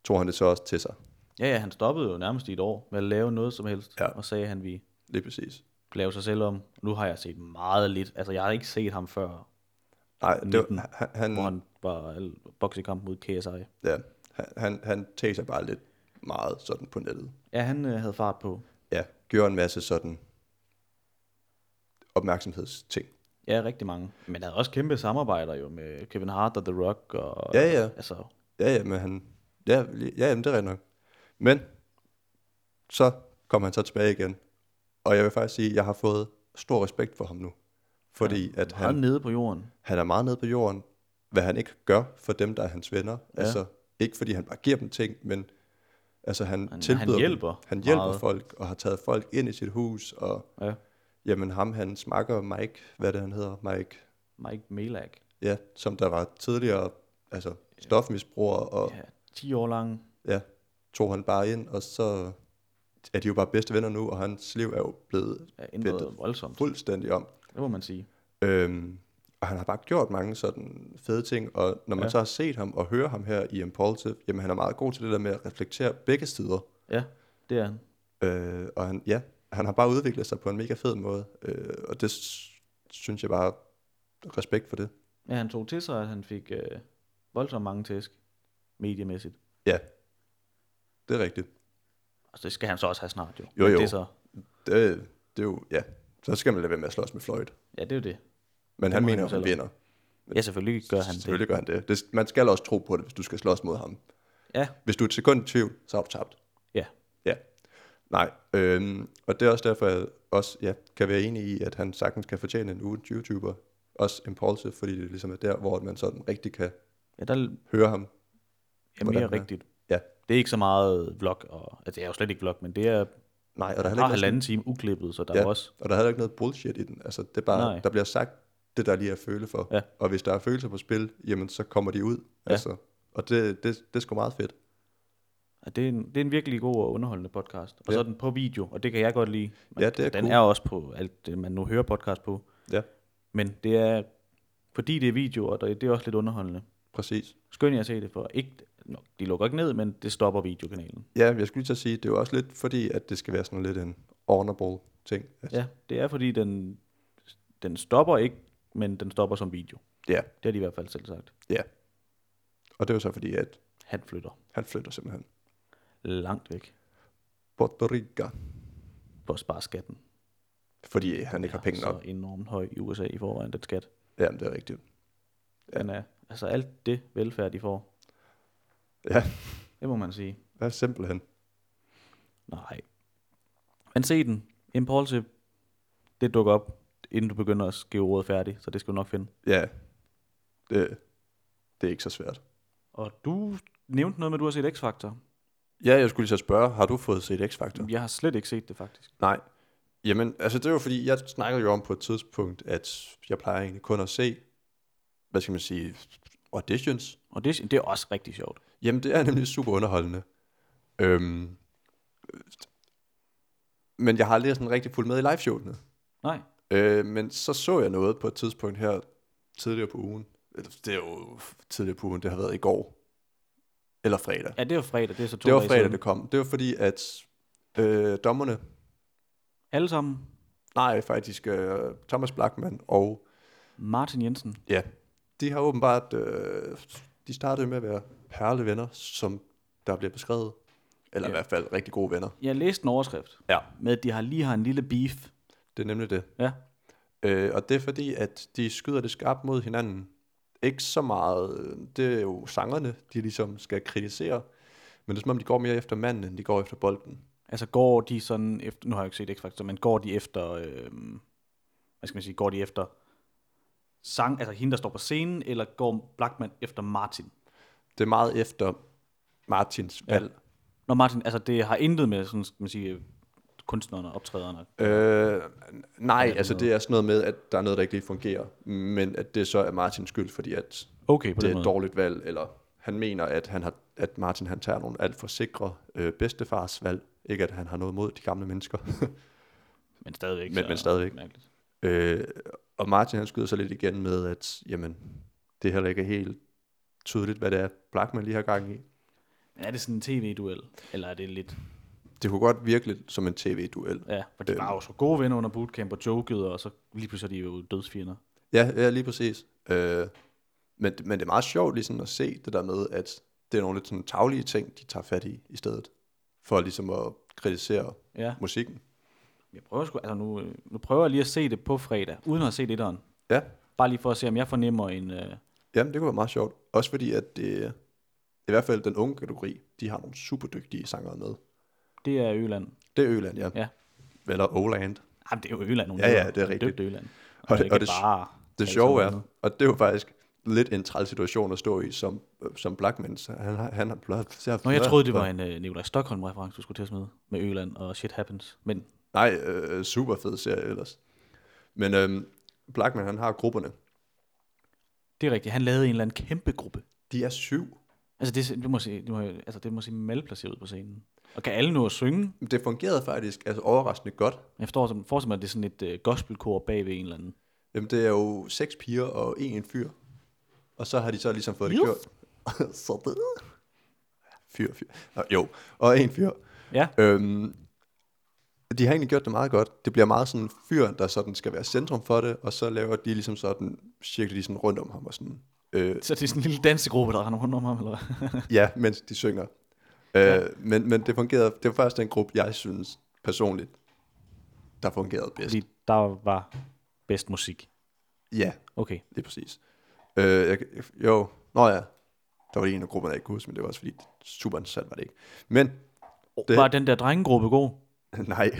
A: tog han det så også til sig.
B: Ja, ja, han stoppede jo nærmest i et år med at lave noget som helst,
A: Ja.
B: og sagde, at han ville
A: Lige præcis.
B: lave sig selv om. Nu har jeg set meget lidt. Altså, jeg har ikke set ham før,
A: Nej, det var,
B: 19,
A: han, han,
B: hvor han var al- boksekamp mod KSI.
A: ja, han- han, han taser bare lidt meget sådan på nettet.
B: Ja, han øh, havde fart på.
A: Ja, gjorde en masse sådan opmærksomhedsting.
B: Ja, rigtig mange. Men han havde også kæmpe samarbejder jo med Kevin Hart og The Rock. Og,
A: Ja, ja.
B: Altså,
A: Ja, ja, men han... Ja, li- ja jamen, det er rigtigt nok. Men så kom han så tilbage igen. Og jeg vil faktisk sige, at jeg har fået stor respekt for ham nu. Fordi ja, at
B: han
A: han,
B: nede på jorden.
A: han er meget nede på jorden, hvad han ikke gør for dem, der er hans venner. Ja. Altså, ikke fordi han bare giver dem ting, men altså, han,
B: han
A: tilbyder dem.
B: hjælper
A: Han hjælper
B: meget.
A: folk, og har taget folk ind i sit hus, og
B: Ja.
A: jamen, ham, hans makker, Mike, hvad er det han hedder, Mike,
B: Mike Malak.
A: ja, som der var tidligere, altså stofmisbruger, og
B: Ja, 10 år lang.
A: ja, tog han bare ind, og så er de jo bare bedste venner nu, og hans liv er jo blevet
B: Ja, ændret
A: Fedt.
B: voldsomt.
A: fuldstændig om.
B: Det må man sige.
A: Øhm, og han har bare gjort mange sådan fede ting, og når man
B: Ja.
A: ja. så har set ham og hører ham her i Impulsive, jamen han er meget god til det der med at reflektere begge sider.
B: Ja, det er han.
A: Øh, og han, ja, han har bare udviklet sig på en mega fed måde, øh, og det s- synes jeg bare, respekt for det.
B: Ja, han tog til sig, at han fik øh, voldsomt mange tæsk, mediemæssigt.
A: Ja, det er rigtigt.
B: Altså, det skal han så også have snart, jo.
A: Jo,
B: Men
A: jo.
B: Det er så,
A: Det, det er jo, ja, så skal man lade være med at slås med Floyd.
B: ja, det er jo det.
A: Men
B: må
A: han mener,
B: han
A: at han
B: selv
A: vinder.
B: Ja, selvfølgelig gør han det.
A: Selvfølgelig gør han det. det. Man skal også tro på det, hvis du skal slås mod ham.
B: Ja,
A: Hvis du er et sekund i tvivl, så har du tabt.
B: ja.
A: Ja. Nej. Øhm, og det er også derfor, jeg også ja, kan være enig i, at han sagtens kan fortjene en ugen YouTuber. Også impulsive, fordi det ligesom er der, hvor man sådan rigtig kan
B: Ja, der er
A: høre ham.
B: ja,
A: Hvordan
B: mere
A: han er.
B: rigtigt.
A: Ja.
B: Det er ikke så meget vlog, og, altså, det er jo slet ikke vlog, men det er
A: Nej, og der er heller
B: bare
A: ikke, noget,
B: halvanden time uklippet, så der
A: Ja.
B: er jo også...
A: og der er heller ikke noget bullshit i den. Altså, det er bare,
B: Nej.
A: der bliver sagt det, der lige er føle for.
B: Ja.
A: Og hvis der er følelser på spil, jamen så kommer de ud.
B: Ja.
A: Altså, og det, det, det er sgu meget fedt.
B: Ja, det, er en, det er en virkelig god og underholdende podcast. Og
A: Ja.
B: så er den på video, og det kan jeg godt lide.
A: Ja, det er
B: den
A: cool.
B: er også på alt det, man nu hører podcast på.
A: Ja,
B: Men det er, fordi det er video, og det det er også lidt underholdende.
A: præcis.
B: Skønt at se det, for ikke, no, de lukker ikke ned, men det stopper videokanalen.
A: Ja, jeg skulle lige så sige, det er jo også lidt fordi, at det skal være sådan lidt en honorable ting. Altså,
B: Ja, det er fordi, den, den stopper ikke, men den stopper som video.
A: ja.
B: Det har de i hvert fald selv sagt.
A: Ja. Og det er jo så fordi, at
B: Han flytter
A: han flytter simpelthen.
B: langt væk
A: Puerto Rico.
B: på at spare skatten.
A: Fordi han ikke har penge
B: så
A: nok.
B: enormt høj i USA i forvejen, den skat.
A: Jamen, det er rigtigt. Ja.
B: Den er, altså alt det velfærd, de får,
A: Ja,
B: det må man sige.
A: ja simpelthen.
B: Nej. Men se den. Impulsive. Det dukker op, inden du begynder at skrive ordet færdigt, så det skal du nok finde.
A: Ja. Det, det er ikke så svært.
B: Og du nævnte noget med, at du har set X-Factor.
A: Ja, jeg skulle lige så spørge, har du fået set X-Factor?
B: Jeg har slet ikke set det, faktisk.
A: Nej. Jamen, altså det er jo fordi, jeg snakkede jo om på et tidspunkt, at jeg plejer egentlig kun at se, hvad skal man sige, auditions.
B: Og det, det er også rigtig sjovt.
A: Jamen, det er nemlig super underholdende. Øhm, men jeg har aldrig sådan rigtig fulgt med i liveshowene.
B: Nej.
A: Øh, men så så jeg noget på et tidspunkt her tidligere på ugen. Eller, Det er jo tidligere på ugen, det har været i går. Eller fredag.
B: Ja, det var fredag. Det er så to
A: Det var
B: dage
A: fredag,
B: siden.
A: det kom. Det var fordi, at øh, dommerne,
B: Alle sammen.
A: nej faktisk øh, Thomas Blackman og
B: Martin Jensen.
A: ja, de har åbenbart, øh, de startede med at være perlevenner, som der bliver beskrevet. Eller
B: Ja.
A: i hvert fald rigtig gode venner.
B: Jeg læste en overskrift
A: Ja.
B: med, at de har lige har en lille beef.
A: Det er nemlig det.
B: Ja.
A: Øh, og det er fordi, at de skyder det skarpt mod hinanden. Ikke så meget, øh, det er jo sangerne, de ligesom skal kritisere, men det er som om, de går mere efter manden, end de går efter bolden.
B: Altså går de sådan efter, nu har jeg ikke set X-Factor, men går de efter, øh, hvad skal man sige, går de efter sang, altså hende, der står på scenen, eller går Blackman efter Martin?
A: Det er meget efter Martins
B: Ja.
A: valg.
B: Nå, Martin, altså det har intet med, sådan skal man sige, kunstnerne og optræderne.
A: Ja. Øh, nej,
B: det
A: altså det er sådan noget med, at der er noget, der ikke lige fungerer, men at det så er Martins skyld, fordi at
B: Okay,
A: det
B: på den
A: er et
B: måde.
A: dårligt valg, eller han mener, at, han har, at Martin han tager nogle alt for sikre øh, bedstefars valg. Ikke at han har noget mod de gamle mennesker.
B: Men stadigvæk.
A: Men-
B: så
A: men stadigvæk.
B: mærkeligt.
A: Øh, og Martin han skyder så lidt igen med, at jamen, det heller ikke er helt tydeligt, hvad det er, Blackman lige har gang i.
B: Men er det sådan en tv-duel? Eller er det lidt...
A: Det kunne godt virke lidt som en tv-duel.
B: Ja, for de var jo så gode venner under bootcamp og jokede, og så lige pludselig er de jo dødsfjender.
A: Ja, ja lige præcis. Øh, men, men det er meget sjovt ligesom at se det der med, at det er nogle lidt sådan taglige ting, de tager fat i i stedet, for ligesom at kritisere
B: Ja.
A: musikken.
B: Jeg prøver sgu, altså nu, øh, nu prøver jeg lige at se det på fredag, uden at have set etteren.
A: Ja,
B: Bare lige for at se, om jeg fornemmer en... Øh,
A: jamen det kunne være meget sjovt. Også fordi, at det, i hvert fald den unge kategori, de har nogle super dygtige sangere med.
B: det er Øland.
A: Det er Øland, ja.
B: Ja.
A: Eller Oland.
B: Jamen, det er jo Øland. Hun
A: Ja, ja,
B: hedder.
A: det er
B: Hun
A: rigtigt.
B: Døbt Øland.
A: Og det- og det-
B: bare
A: Det
B: alle
A: sjove
B: sammen
A: er, og det er jo faktisk lidt en træl situation at stå i som, øh, som Blackman. så Han har, han har blot...
B: Nå, jeg troede, det var en øh, Nikolaj Stockholm-reference, du skulle til at smide med Øland og Shit Happens. Men
A: Nej, øh, super fed serie ellers. Men øhm, Blackman, han har grupperne.
B: det er rigtigt, han lavede en eller anden kæmpe gruppe.
A: De er syv.
B: Altså, det, det, må, se, det, må, altså, det må se malplaceret ud på scenen. Og kan alle nå at synge?
A: Det fungerede faktisk altså, overraskende godt.
B: Jeg forstår, som, forestiller mig, at det er sådan et øh, gospelkor bagved en eller anden.
A: Jamen, det er jo seks piger og en fyr. Og så har de så ligesom fået det
B: Juf.
A: gjort. så det... Fyr, fyr. Nå, jo, og en fyr.
B: Ja,
A: Øhm, de har egentlig gjort det meget godt. Det bliver meget sådan en fyr, der sådan skal være centrum for det, og så laver de ligesom sådan, cirkler de sådan rundt om ham og sådan. Øh,
B: så det er sådan en lille dansegruppe, der render rundt om ham, eller hvad?
A: ja, mens de synger. Øh, ja. men, men det fungerede, det var faktisk den gruppe, jeg synes personligt, der fungerede bedst.
B: Fordi der var bedst musik.
A: Ja,
B: Okay.
A: lige præcis. Øh, jeg, jeg- jo, nå ja, der var lige en af grupperne, jeg ikke kunne huske, men det var også fordi, super interessant var det ikke. Men,
B: Det.
A: Det-
B: Var den der drengegruppe god?
A: nej.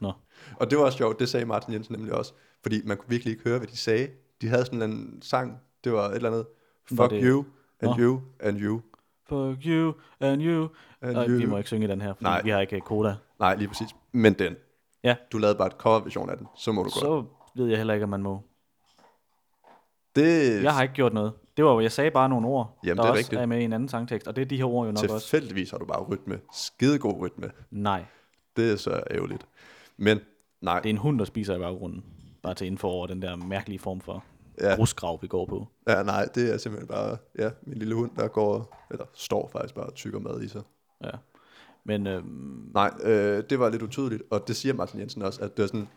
B: Nå.
A: Og det var også sjovt, det sagde Martin Jensen nemlig også, fordi man kunne virkelig ikke høre, hvad de sagde. De havde sådan en eller anden sang, det var et eller andet,
B: Var
A: fuck
B: det-
A: det... you, and
B: Nå.
A: you, and you.
B: Fuck you and you.
A: And
B: Og
A: you.
B: vi må ikke synge den her, fordi Nej.
A: Nej.
B: vi har ikke øh, koda.
A: Nej, lige præcis. Men den.
B: Ja.
A: Du lavede bare et coverversion af den, så må du godt.
B: Så ved jeg heller ikke, om man må.
A: Det
B: Jeg har ikke gjort noget. Det var jo, jeg sagde bare nogle ord,
A: Jamen,
B: der
A: det er
B: også
A: rigtigt.
B: er med i en anden sangtekst, og det er de her ord jo nok også.
A: tilfældigvis har du bare rytme. Skidegod rytme.
B: Nej,
A: Det er så ærgerligt. Men nej,
B: det er en hund, der spiser i baggrunden. Bare til info over den der mærkelige form for ja.
A: Ja.
B: rusgrav, vi går på.
A: ja, nej, det er simpelthen bare ja, min lille hund, der går, eller står faktisk bare og tykker mad i sig.
B: Ja. Men øhm,
A: Nej, øh, det var lidt utydeligt, og det siger Martin Jensen også, at det er sådan,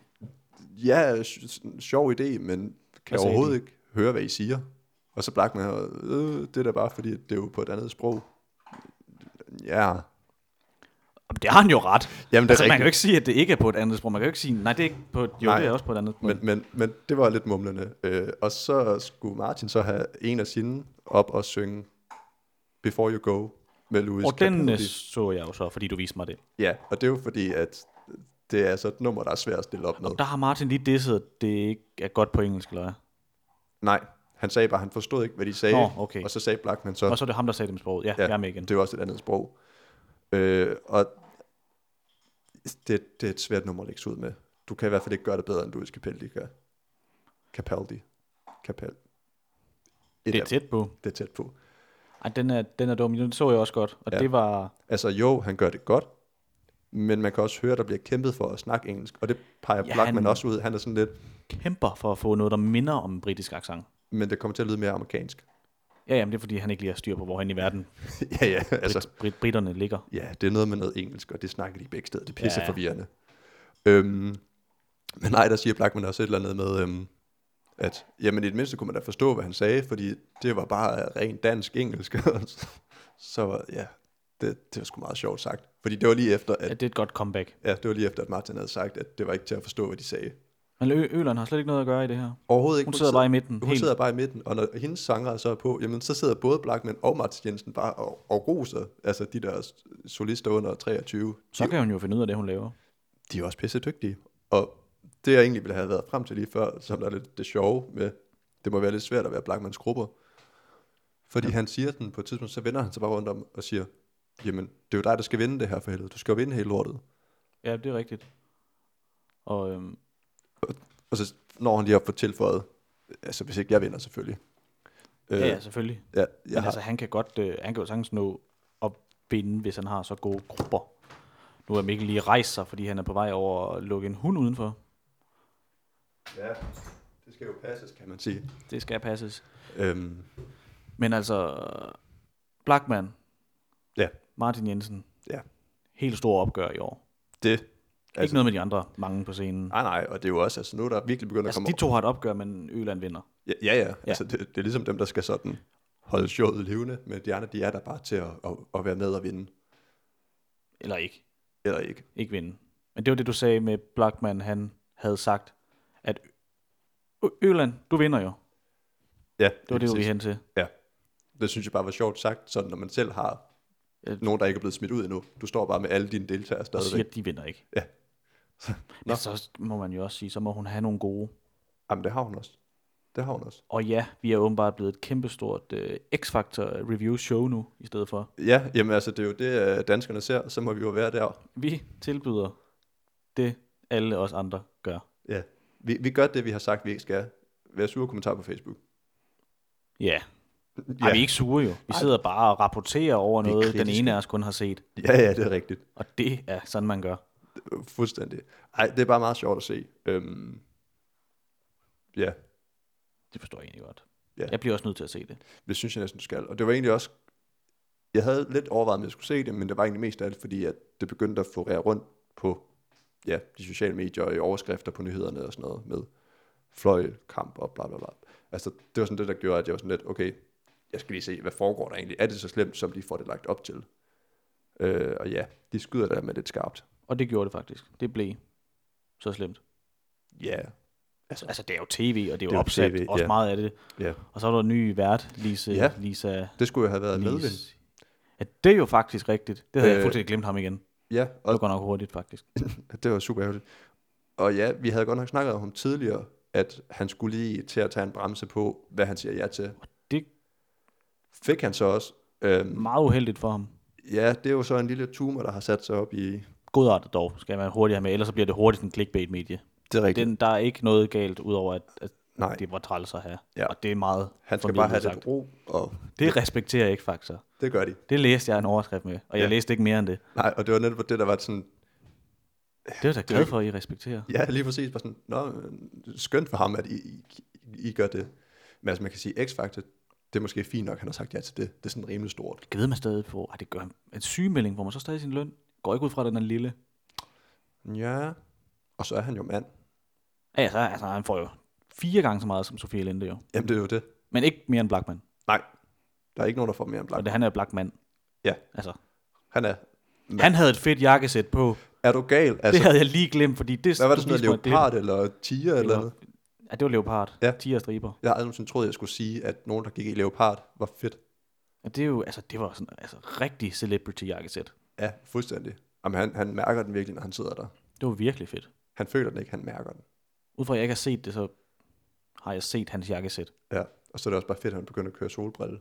A: ja, sj- sådan, sjov idé, men kan
B: Hvad sagde
A: overhovedet ikke høre, hvad I siger. Og så Blackman, øh, det er da bare fordi, at det er jo på et andet sprog. Ja,
B: det har han jo ret.
A: Jamen, det er
B: altså, man
A: rigtigt.
B: kan jo ikke sige, at det ikke er på et andet sprog. Man kan jo ikke sige, nej, det er ikke på et, jo,
A: Nej.
B: det er også på et andet sprog.
A: men, men, men det var lidt mumlende. Øh, og så skulle Martin så have en af sine op og synge Before You Go med Louis
B: og den øh,
A: Capaldi.
B: så jeg jo så, fordi du viste mig det.
A: Ja, og det er jo fordi, at det er så et nummer, der er svært at stille op med.
B: Der har Martin lige disset, at det ikke er godt på engelsk, eller hvad?
A: Nej, han sagde bare, at han forstod ikke, hvad de sagde.
B: Nå, okay.
A: Og så sagde Blackman så,
B: Og så er det ham, der sagde det med sproget. Ja, ja. jeg er med igen.
A: Det er jo også et andet sprog. Øh, og det, det er et svært nummer at lægge sig ud med. Du kan i hvert fald ikke gøre det bedre, end Louis Capaldi gør. Capaldi. Capaldi.
B: Det er tæt på.
A: det er tæt på.
B: Ej, den er, den er dum. Den så jeg også godt. Og ja.
A: Ja.
B: det var...
A: Altså jo, han gør det godt, men man kan også høre, der bliver kæmpet for at snakke engelsk, og det peger
B: Ja,
A: ja, Blackman
B: han-
A: også ud. Han er sådan lidt,
B: kæmper for at få noget, der minder om en britisk accent.
A: men det kommer til at lyde mere amerikansk.
B: Ja, jamen det er fordi, han ikke lige har styr på, hvor han i verden
A: ja, ja, altså.
B: altså. brit, britterne ligger.
A: Ja, det er noget med noget engelsk, og det snakker de begge steder. Det er pisse
B: Ja.
A: ja. forvirrende. Øhm, men nej, der siger Blackman også et eller andet med, øhm, at jamen, i det mindste kunne man da forstå, hvad han sagde, fordi det var bare rent dansk-engelsk. så var- ja, det, det var sgu meget sjovt sagt. Fordi det var lige efter,
B: Ja,
A: at,
B: det er et godt comeback.
A: ja, det var lige efter, at Martin havde sagt, at det var ikke til at forstå, hvad de sagde.
B: Men Ø- Øland har slet ikke noget at gøre i det her.
A: Overhovedet ikke.
B: Hun sidder bare i midten.
A: Hun
B: helt.
A: sidder bare i midten, og når hendes sanger så er på, jamen så sidder både Blackman og Martin Jensen bare og, og roser, altså de der solister under 23.
B: Så kan hun jo finde ud af det, hun laver.
A: de er også pisse dygtige. Og det jeg egentlig ville have været frem til lige før, som der er lidt det sjove med, det må være lidt svært at være Blackmans grupper. Fordi ja. han siger den på et tidspunkt, så vender han sig bare rundt om og siger, jamen det er jo dig, der skal vinde det her for helvede. Du skal jo vinde hele lortet.
B: Ja, det er rigtigt. Og øhm,
A: Og så når han lige op for tilføjet, altså hvis ikke jeg vinder selvfølgelig.
B: øh, ja, ja, selvfølgelig.
A: ja, jeg
B: Men
A: har,
B: altså, han kan, godt, øh, han kan jo sagtens nå at vinde, hvis han har så gode grupper. Nu er Mikkel lige rejst sig, fordi han er på vej over at lukke en hund udenfor.
A: ja, det skal jo passes, kan man sige.
B: Det skal passes.
A: Øhm,
B: Men altså, Blackman,
A: Ja.
B: Martin Jensen.
A: Ja.
B: Helt stor opgør i år.
A: Det.
B: Altså, ikke noget med de andre mange på scenen.
A: Nej, nej, og det er jo også, altså nu er der virkelig begyndt
B: Altså,
A: at komme...
B: de to har et opgør, men Øland vinder.
A: Ja, ja, ja. altså det, det er ligesom dem, der skal sådan holde showet levende, men de andre, de er der bare til at, at, at være med og vinde,
B: Eller ikke.
A: eller ikke.
B: Ikke vinde. Men det var det, du sagde med Blackman, han havde sagt, at Ø- Øland, du vinder jo.
A: Ja,
B: Det var det, du ville hen til.
A: Ja, det synes jeg bare var sjovt sagt, sådan når man selv har
B: Ja.
A: nogen, der ikke er blevet smidt ud endnu. Du står bare med alle dine deltagere
B: Og siger,
A: stadigvæk.
B: at de vinder ikke.
A: Ja.
B: Men så må man jo også sige, så må hun have nogle gode.
A: Jamen, det har hun også. Det har hun også.
B: Og ja, vi er åbenbart blevet et kæmpestort øh, X-Factor review show nu, i stedet for.
A: Ja, jamen altså, det er jo det, øh, danskerne ser, og så må vi jo være der.
B: Vi tilbyder det, alle os andre gør.
A: Ja. Vi, vi gør det, vi har sagt, vi ikke skal. Vær sure kommentarer på Facebook.
B: Ja. Ej, vi er ikke sure jo. Vi sidder bare og rapporterer over
A: Vi er
B: noget, den
A: kritiske.
B: ene af os kun har set.
A: Ja, ja, det er rigtigt.
B: Og det er sådan, man gør.
A: Fuldstændig. Ej, det er bare meget sjovt at se. Øhm, ja,
B: Det forstår jeg egentlig godt.
A: Ja.
B: Jeg bliver også nødt til at se det.
A: det synes jeg næsten, du skal. Og det var egentlig også... Jeg havde lidt overvejet, om jeg skulle se det, men det var egentlig mest af alt, fordi at det begyndte at florere rundt på ja, de sociale medier og i overskrifter på nyhederne og sådan noget med fløjkamp og bla bla bla. Altså, det var sådan det, der gjorde, at jeg var sådan lidt, okay, jeg skal lige se, hvad foregår der egentlig? Er det så slemt, som de får det lagt op til? Øh, og ja, de skyder der med lidt skarpt.
B: Og det gjorde det faktisk. Det blev så slemt.
A: Ja, yeah.
B: Altså, altså det er jo tv, og det er
A: Det
B: jo,
A: er jo
B: opsat.
A: TV,
B: også
A: ja.
B: meget af det.
A: ja.
B: Og så er der en ny vært, Lise,
A: Ja.
B: Lisa
A: Det skulle jo have været medvind.
B: Nis. Ja, det er jo faktisk rigtigt. Det havde øh,
A: Øh,
B: jeg fuldstændig glemt ham igen. Det
A: Ja, og
B: var godt nok hurtigt, faktisk.
A: Det var super ærgerligt. Og ja, vi havde godt nok snakket om ham tidligere, at han skulle lige til at tage en bremse på, hvad han siger ja til.
B: Det er
A: Fik han så også. Øhm,
B: meget uheldigt for ham.
A: ja, det er jo så en lille tumor, der har sat sig op i...
B: Godartet dog, skal man hurtigt have med, ellers så bliver det hurtigt en clickbait-medie.
A: Det er rigtigt. Den,
B: Den, der er ikke noget galt, udover at, at
A: Nej,
B: det var træls at have.
A: Ja.
B: Og det er meget
A: han skal
B: formidlet
A: bare have
B: sagt.
A: lidt ro, og
B: Det respekterer jeg ikke, faktisk.
A: det gør de.
B: Det læste jeg en overskrift med, og jeg
A: Ja.
B: læste ikke mere end det.
A: Nej, og det var netop det, der var sådan...
B: Det er jeg da glad for, at I respekterer.
A: Ja, lige præcis. Bare sådan, Nå, øh, skønt for ham, at I, I, I gør det. Men altså, man kan sige, X-Factor, det er måske fint nok, han har sagt ja til det. Det er sådan rimelig stort.
B: Givet man stadig på, at det gør en sygemelding, hvor man så stadig sin løn. Går ikke ud fra, at den er lille.
A: Ja. Og så er han jo mand.
B: Ja, altså, altså, han får jo fire gange så meget som Sofie Linde jo.
A: Jamen, det er jo det.
B: Men ikke mere end Blackman.
A: Nej, der er ikke nogen, der får mere end
B: Og
A: Black.
B: det, han er Blackman.
A: Ja,
B: Altså,
A: han er
B: Men. han havde et fedt jakkesæt på. Altså,
A: Er du gal?
B: det
A: Altså,
B: havde jeg lige glemt, fordi det...
A: hvad var det sådan
B: viste mig,
A: noget,
B: at det-
A: leopard eller tiger eller
B: var-
A: noget?
B: Ja, det var leopard.
A: Ja.
B: Ja. Tiger striber.
A: Jeg har aldrig nogensinde troet, jeg skulle sige, at nogen, der gik i leopard, var fedt.
B: Ja, det er jo, altså, det var sådan, altså, rigtig celebrity jakkesæt.
A: Ja, fuldstændig. Jamen, han, han mærker den virkelig, når han sidder der.
B: Det var virkelig fedt.
A: Han føler den ikke, han mærker den.
B: Ud fra, at jeg ikke har set det, så har jeg set hans jakkesæt.
A: Ja, og så er det også bare fedt, at han begynder at køre solbrille.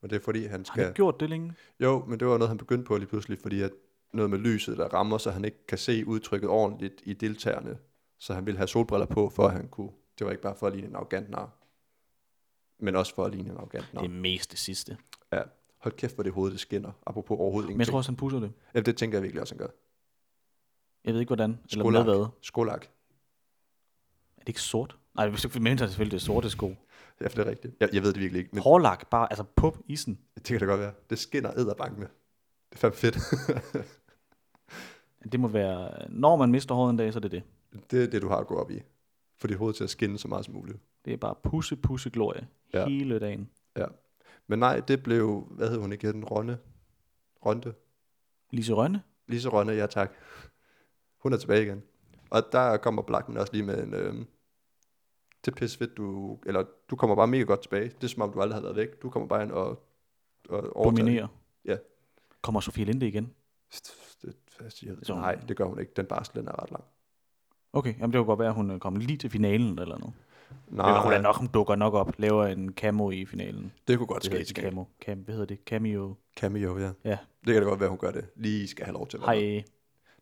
A: Men det er fordi, han
B: Har han
A: skal...
B: ikke gjort det længe?
A: Jo, men det var noget, han begyndte på lige pludselig, fordi at noget med lyset, der rammer, så han ikke kan se udtrykket ordentligt i deltagerne. Så han ville have solbriller på, for at han kunne... Det var ikke bare for at ligne en arrogant nar, men også for at ligne en arrogant nar.
B: Det er mest det sidste.
A: Ja. Hold kæft, hvor det hoved, det skinner. Apropos overhovedet
B: Men jeg
A: ingenting.
B: tror også, han pusser det.
A: Ja, det tænker jeg virkelig også, han gør.
B: Jeg ved ikke, hvordan. Eller med
A: Skolak.
B: hvad.
A: Skolak.
B: Er det ikke sort? Nej, hvis du mener selvfølgelig, det er sorte sko.
A: Ja, for det er rigtigt. Jeg, jeg ved det virkelig ikke, men
B: Hårlak, bare altså på isen.
A: det kan da godt være. Det skinner æderbank med. Det er fandme fedt.
B: Det må være, når man mister håret en dag, så er det det.
A: det er det, du har at gå op i. Få dit hoved til at skinne så meget som muligt.
B: Det er bare pusse, pusse glorie
A: Ja.
B: ja. hele dagen.
A: Ja. Men nej, det blev, hvad hed hun igen? Ronne? Ronde?
B: Lise Rønne,
A: Lise Ronne, ja tak. Hun er tilbage igen. Og der kommer Blackman også lige med en... Øhm, det er pisse fedt, du... Eller, du kommer bare mega godt tilbage. Det er som om, du aldrig har været væk. Du kommer bare ind og... og overtager.
B: dominerer.
A: Ja.
B: Kommer Sofie Linde igen?
A: Det, jeg siger,
B: Så-
A: nej, det gør hun ikke. Den barsel den er ret lang.
B: Okay, jamen det kunne godt være, at hun øh, kommer lige til finalen eller noget.
A: Nej,
B: Eller hun, er nok, hun dukker nok op, laver en camo i finalen.
A: Ah, det kunne godt
B: Det
A: ske.
B: hedder
A: Det
B: ikke
A: kan.
B: camo. Cam, hvad hedder det? Cameo.
A: Cameo, ja.
B: Ja,
A: Det kan da godt være, hun gør det. Lige skal have lov til at være
B: hej.
A: med.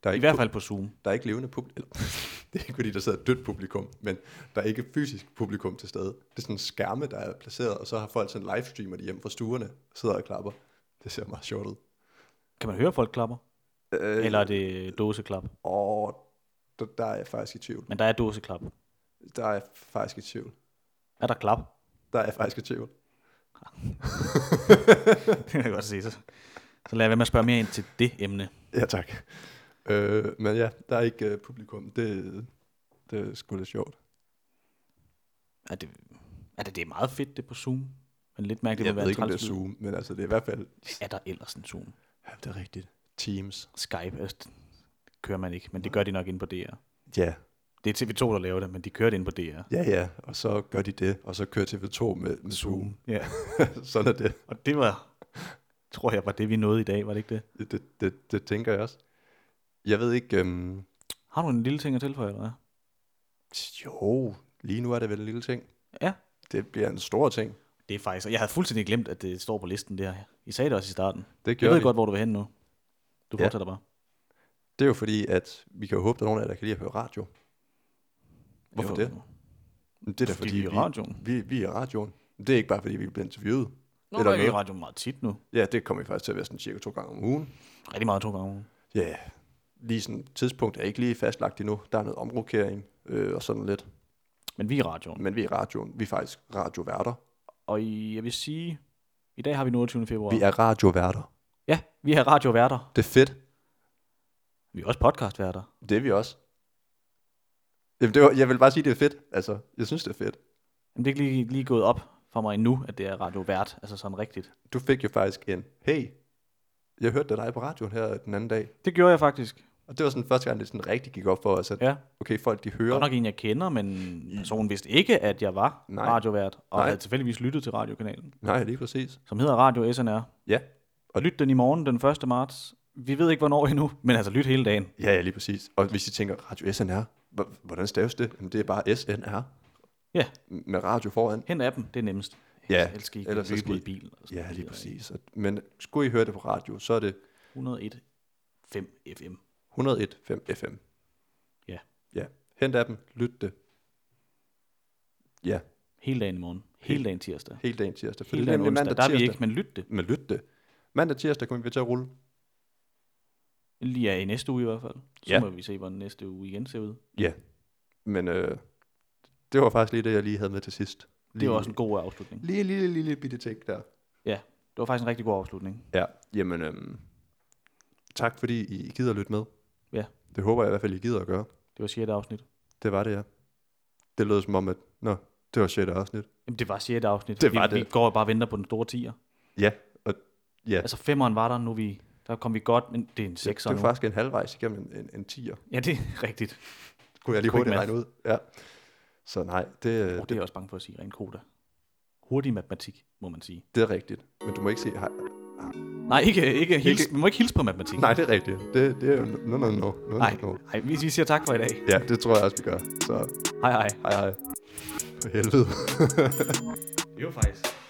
A: Der er,
B: I
A: ikke,
B: hvert
A: pu-
B: fald på Zoom.
A: der er ikke levende publikum. Eller, det er ikke fordi, der sidder et dødt publikum, men der er ikke fysisk publikum til stede. Det er sådan en skærme, der er placeret, og så har folk sådan livestreamer de hjemme fra stuerne, og sidder og klapper. Det ser meget sjovt ud.
B: Kan man høre, folk klapper?
A: Øh,
B: Eller er det dåseklap?
A: Og der, der er jeg faktisk i tvivl.
B: Men der er dåseklap.
A: Der er jeg faktisk i tvivl.
B: Er der klap?
A: Der er jeg faktisk i tvivl.
B: det kan jeg godt se. Så. Så lad være med at spørge mere ind til det emne.
A: Ja, tak. Øh, men ja, der er ikke øh, publikum. Det, det er sgu lidt sjovt.
B: Er det, er det, det er meget fedt, det er på Zoom? Men lidt mærkeligt
A: Jeg
B: at være
A: ved ikke, om det er
B: træls lyd.
A: Zoom, men altså, det er i hvert fald...
B: Er der ellers en Zoom?
A: Ja, det er rigtigt. Teams.
B: Skype altså, det kører man ikke, men det gør de nok inde på DR.
A: Ja,
B: Det er TV2, der laver det, men de kører det inde på DR.
A: ja, ja. Og så gør de det, og så kører TV2 med, med Zoom.
B: Ja,
A: Sådan er det.
B: og det var, tror jeg, var det, vi nåede i dag, var det ikke det?
A: Det, det, det, det tænker jeg også. Jeg ved ikke... Øhm,
B: Har du en lille ting at tilføje, eller hvad?
A: jo, lige nu er det vel en lille ting.
B: Ja.
A: Det bliver en stor ting.
B: Det er faktisk, og jeg havde fuldstændig glemt, at det står på listen der. I sagde det også i starten.
A: Det gør
B: Jeg ved
A: vi.
B: godt, hvor du vil hen nu. Du
A: Ja.
B: fortsætter bare.
A: Det er jo fordi, at vi kan jo håbe, at der er nogen af jer, der kan lide at høre radio. Hvorfor
B: Jo,
A: det? Men Det er da
B: Fordi
A: fordi,
B: vi er i radioen.
A: Vi, vi er i radioen. Det er ikke bare fordi, vi bliver interviewet.
B: Nu
A: Eller
B: er vi i
A: noget.
B: radioen meget tit nu.
A: Ja, det kommer vi faktisk til at være sådan cirka to gange om ugen.
B: Rigtig meget to gange om ugen.
A: Ja, yeah. lige sådan tidspunkt er ikke lige fastlagt endnu. Der er noget omrokering øh, og sådan lidt.
B: Men vi er i radioen.
A: Men vi er i radioen. Vi er faktisk radioværter.
B: Og i, jeg vil sige, i dag har vi den 28. februar.
A: Vi er radioværter.
B: Ja, vi er radioværter.
A: Det er fedt.
B: Vi er også podcastværter.
A: Det er vi også. Jamen, det var, jeg vil bare sige, det er fedt. Altså, jeg synes, det er fedt.
B: Men det er ikke lige, lige gået op for mig endnu, at det er radiovært, altså sådan rigtigt.
A: Du fik jo faktisk en, hey, jeg hørte det dig på radioen her den anden dag.
B: Det gjorde jeg faktisk.
A: Og det var sådan første gang, det sådan rigtig gik op for os, at
B: Ja.
A: okay, folk de hører.
B: Godt nok en, jeg kender, men personen vidste ikke, at jeg var
A: Nej.
B: radiovært, og
A: Nej.
B: havde tilfældigvis lyttet til radiokanalen,
A: Nej, lige præcis.
B: som hedder Radio SNR.
A: Ja.
B: Og lyt den i morgen den 1. marts. Vi ved ikke, hvornår endnu, men altså lyt hele dagen.
A: Ja, ja, lige præcis. Og hvis I tænker, Radio SNR, h- hvordan staves det? Jamen, det er bare SNR
B: Ja,
A: med radio foran.
B: hen af dem, det er nemmest.
A: Ja,
B: Ellers skal I
A: ellers så
B: ikke løbe
A: skal
B: i
A: I-
B: bilen. og sådan
A: Ja,
B: noget.
A: lige præcis. Og- Men skulle I høre det på radio, så er det
B: 101.5 FM.
A: 101.5 FM.
B: Ja.
A: Ja. Hent af dem, lyt det. Ja,
B: Hele dagen i morgen. Hele dagen tirsdag.
A: hele dagen tirsdag. For
B: Hele
A: det er
B: dagen
A: nemlig
B: onsdag.
A: mandag,
B: Der er vi
A: tirsdag.
B: ikke, men lyt det.
A: Men lyt det. Mandag tirsdag kommer vi til at rulle.
B: Lige ja, i næste uge i hvert fald. Så
A: Ja.
B: må vi se, hvordan næste uge igen ser ud.
A: Ja. Men øh, det var faktisk lige det, jeg lige havde med til sidst. Lige,
B: Det var også en god afslutning.
A: Lige en lille, lille bitte ting der.
B: Ja, det var faktisk en rigtig god afslutning.
A: Ja, jamen øhm, tak fordi I gider at lytte med.
B: Ja.
A: Det håber jeg i hvert fald, I gider at gøre.
B: Det var 6. afsnit.
A: Det var det, ja. Det lød som om, at nå, det var 6. afsnit.
B: Jamen, det var 6. afsnit.
A: Det var
B: vi,
A: det.
B: Vi går og bare og venter på den store tiger.
A: Ja, og ja,
B: Altså, femeren var der, nu er vi, der kom vi godt, men det er en
A: det, det
B: 6'er
A: var
B: nu.
A: faktisk en halvvejs igennem en, en, en 10'er.
B: Ja, det er rigtigt.
A: Kunne jeg lige
B: Quick
A: hurtigt
B: math.
A: regne ud. Ja. Så nej, det,
B: Oh, det er jeg også bange for at sige, ren koda. Hurtig matematik, må man sige.
A: det er rigtigt. Men du må ikke se... Hej.
B: Nej, ikke, ikke hils, vi må ikke hilse på matematik.
A: Nej, det er rigtigt. Det, det er... No, no, no. no,
B: Nej,
A: no, no.
B: nej, vi vi siger tak for i dag.
A: Ja, det tror jeg også, vi gør. Så
B: Hej, hej.
A: hej hej. For helvede.
B: Det var faktisk...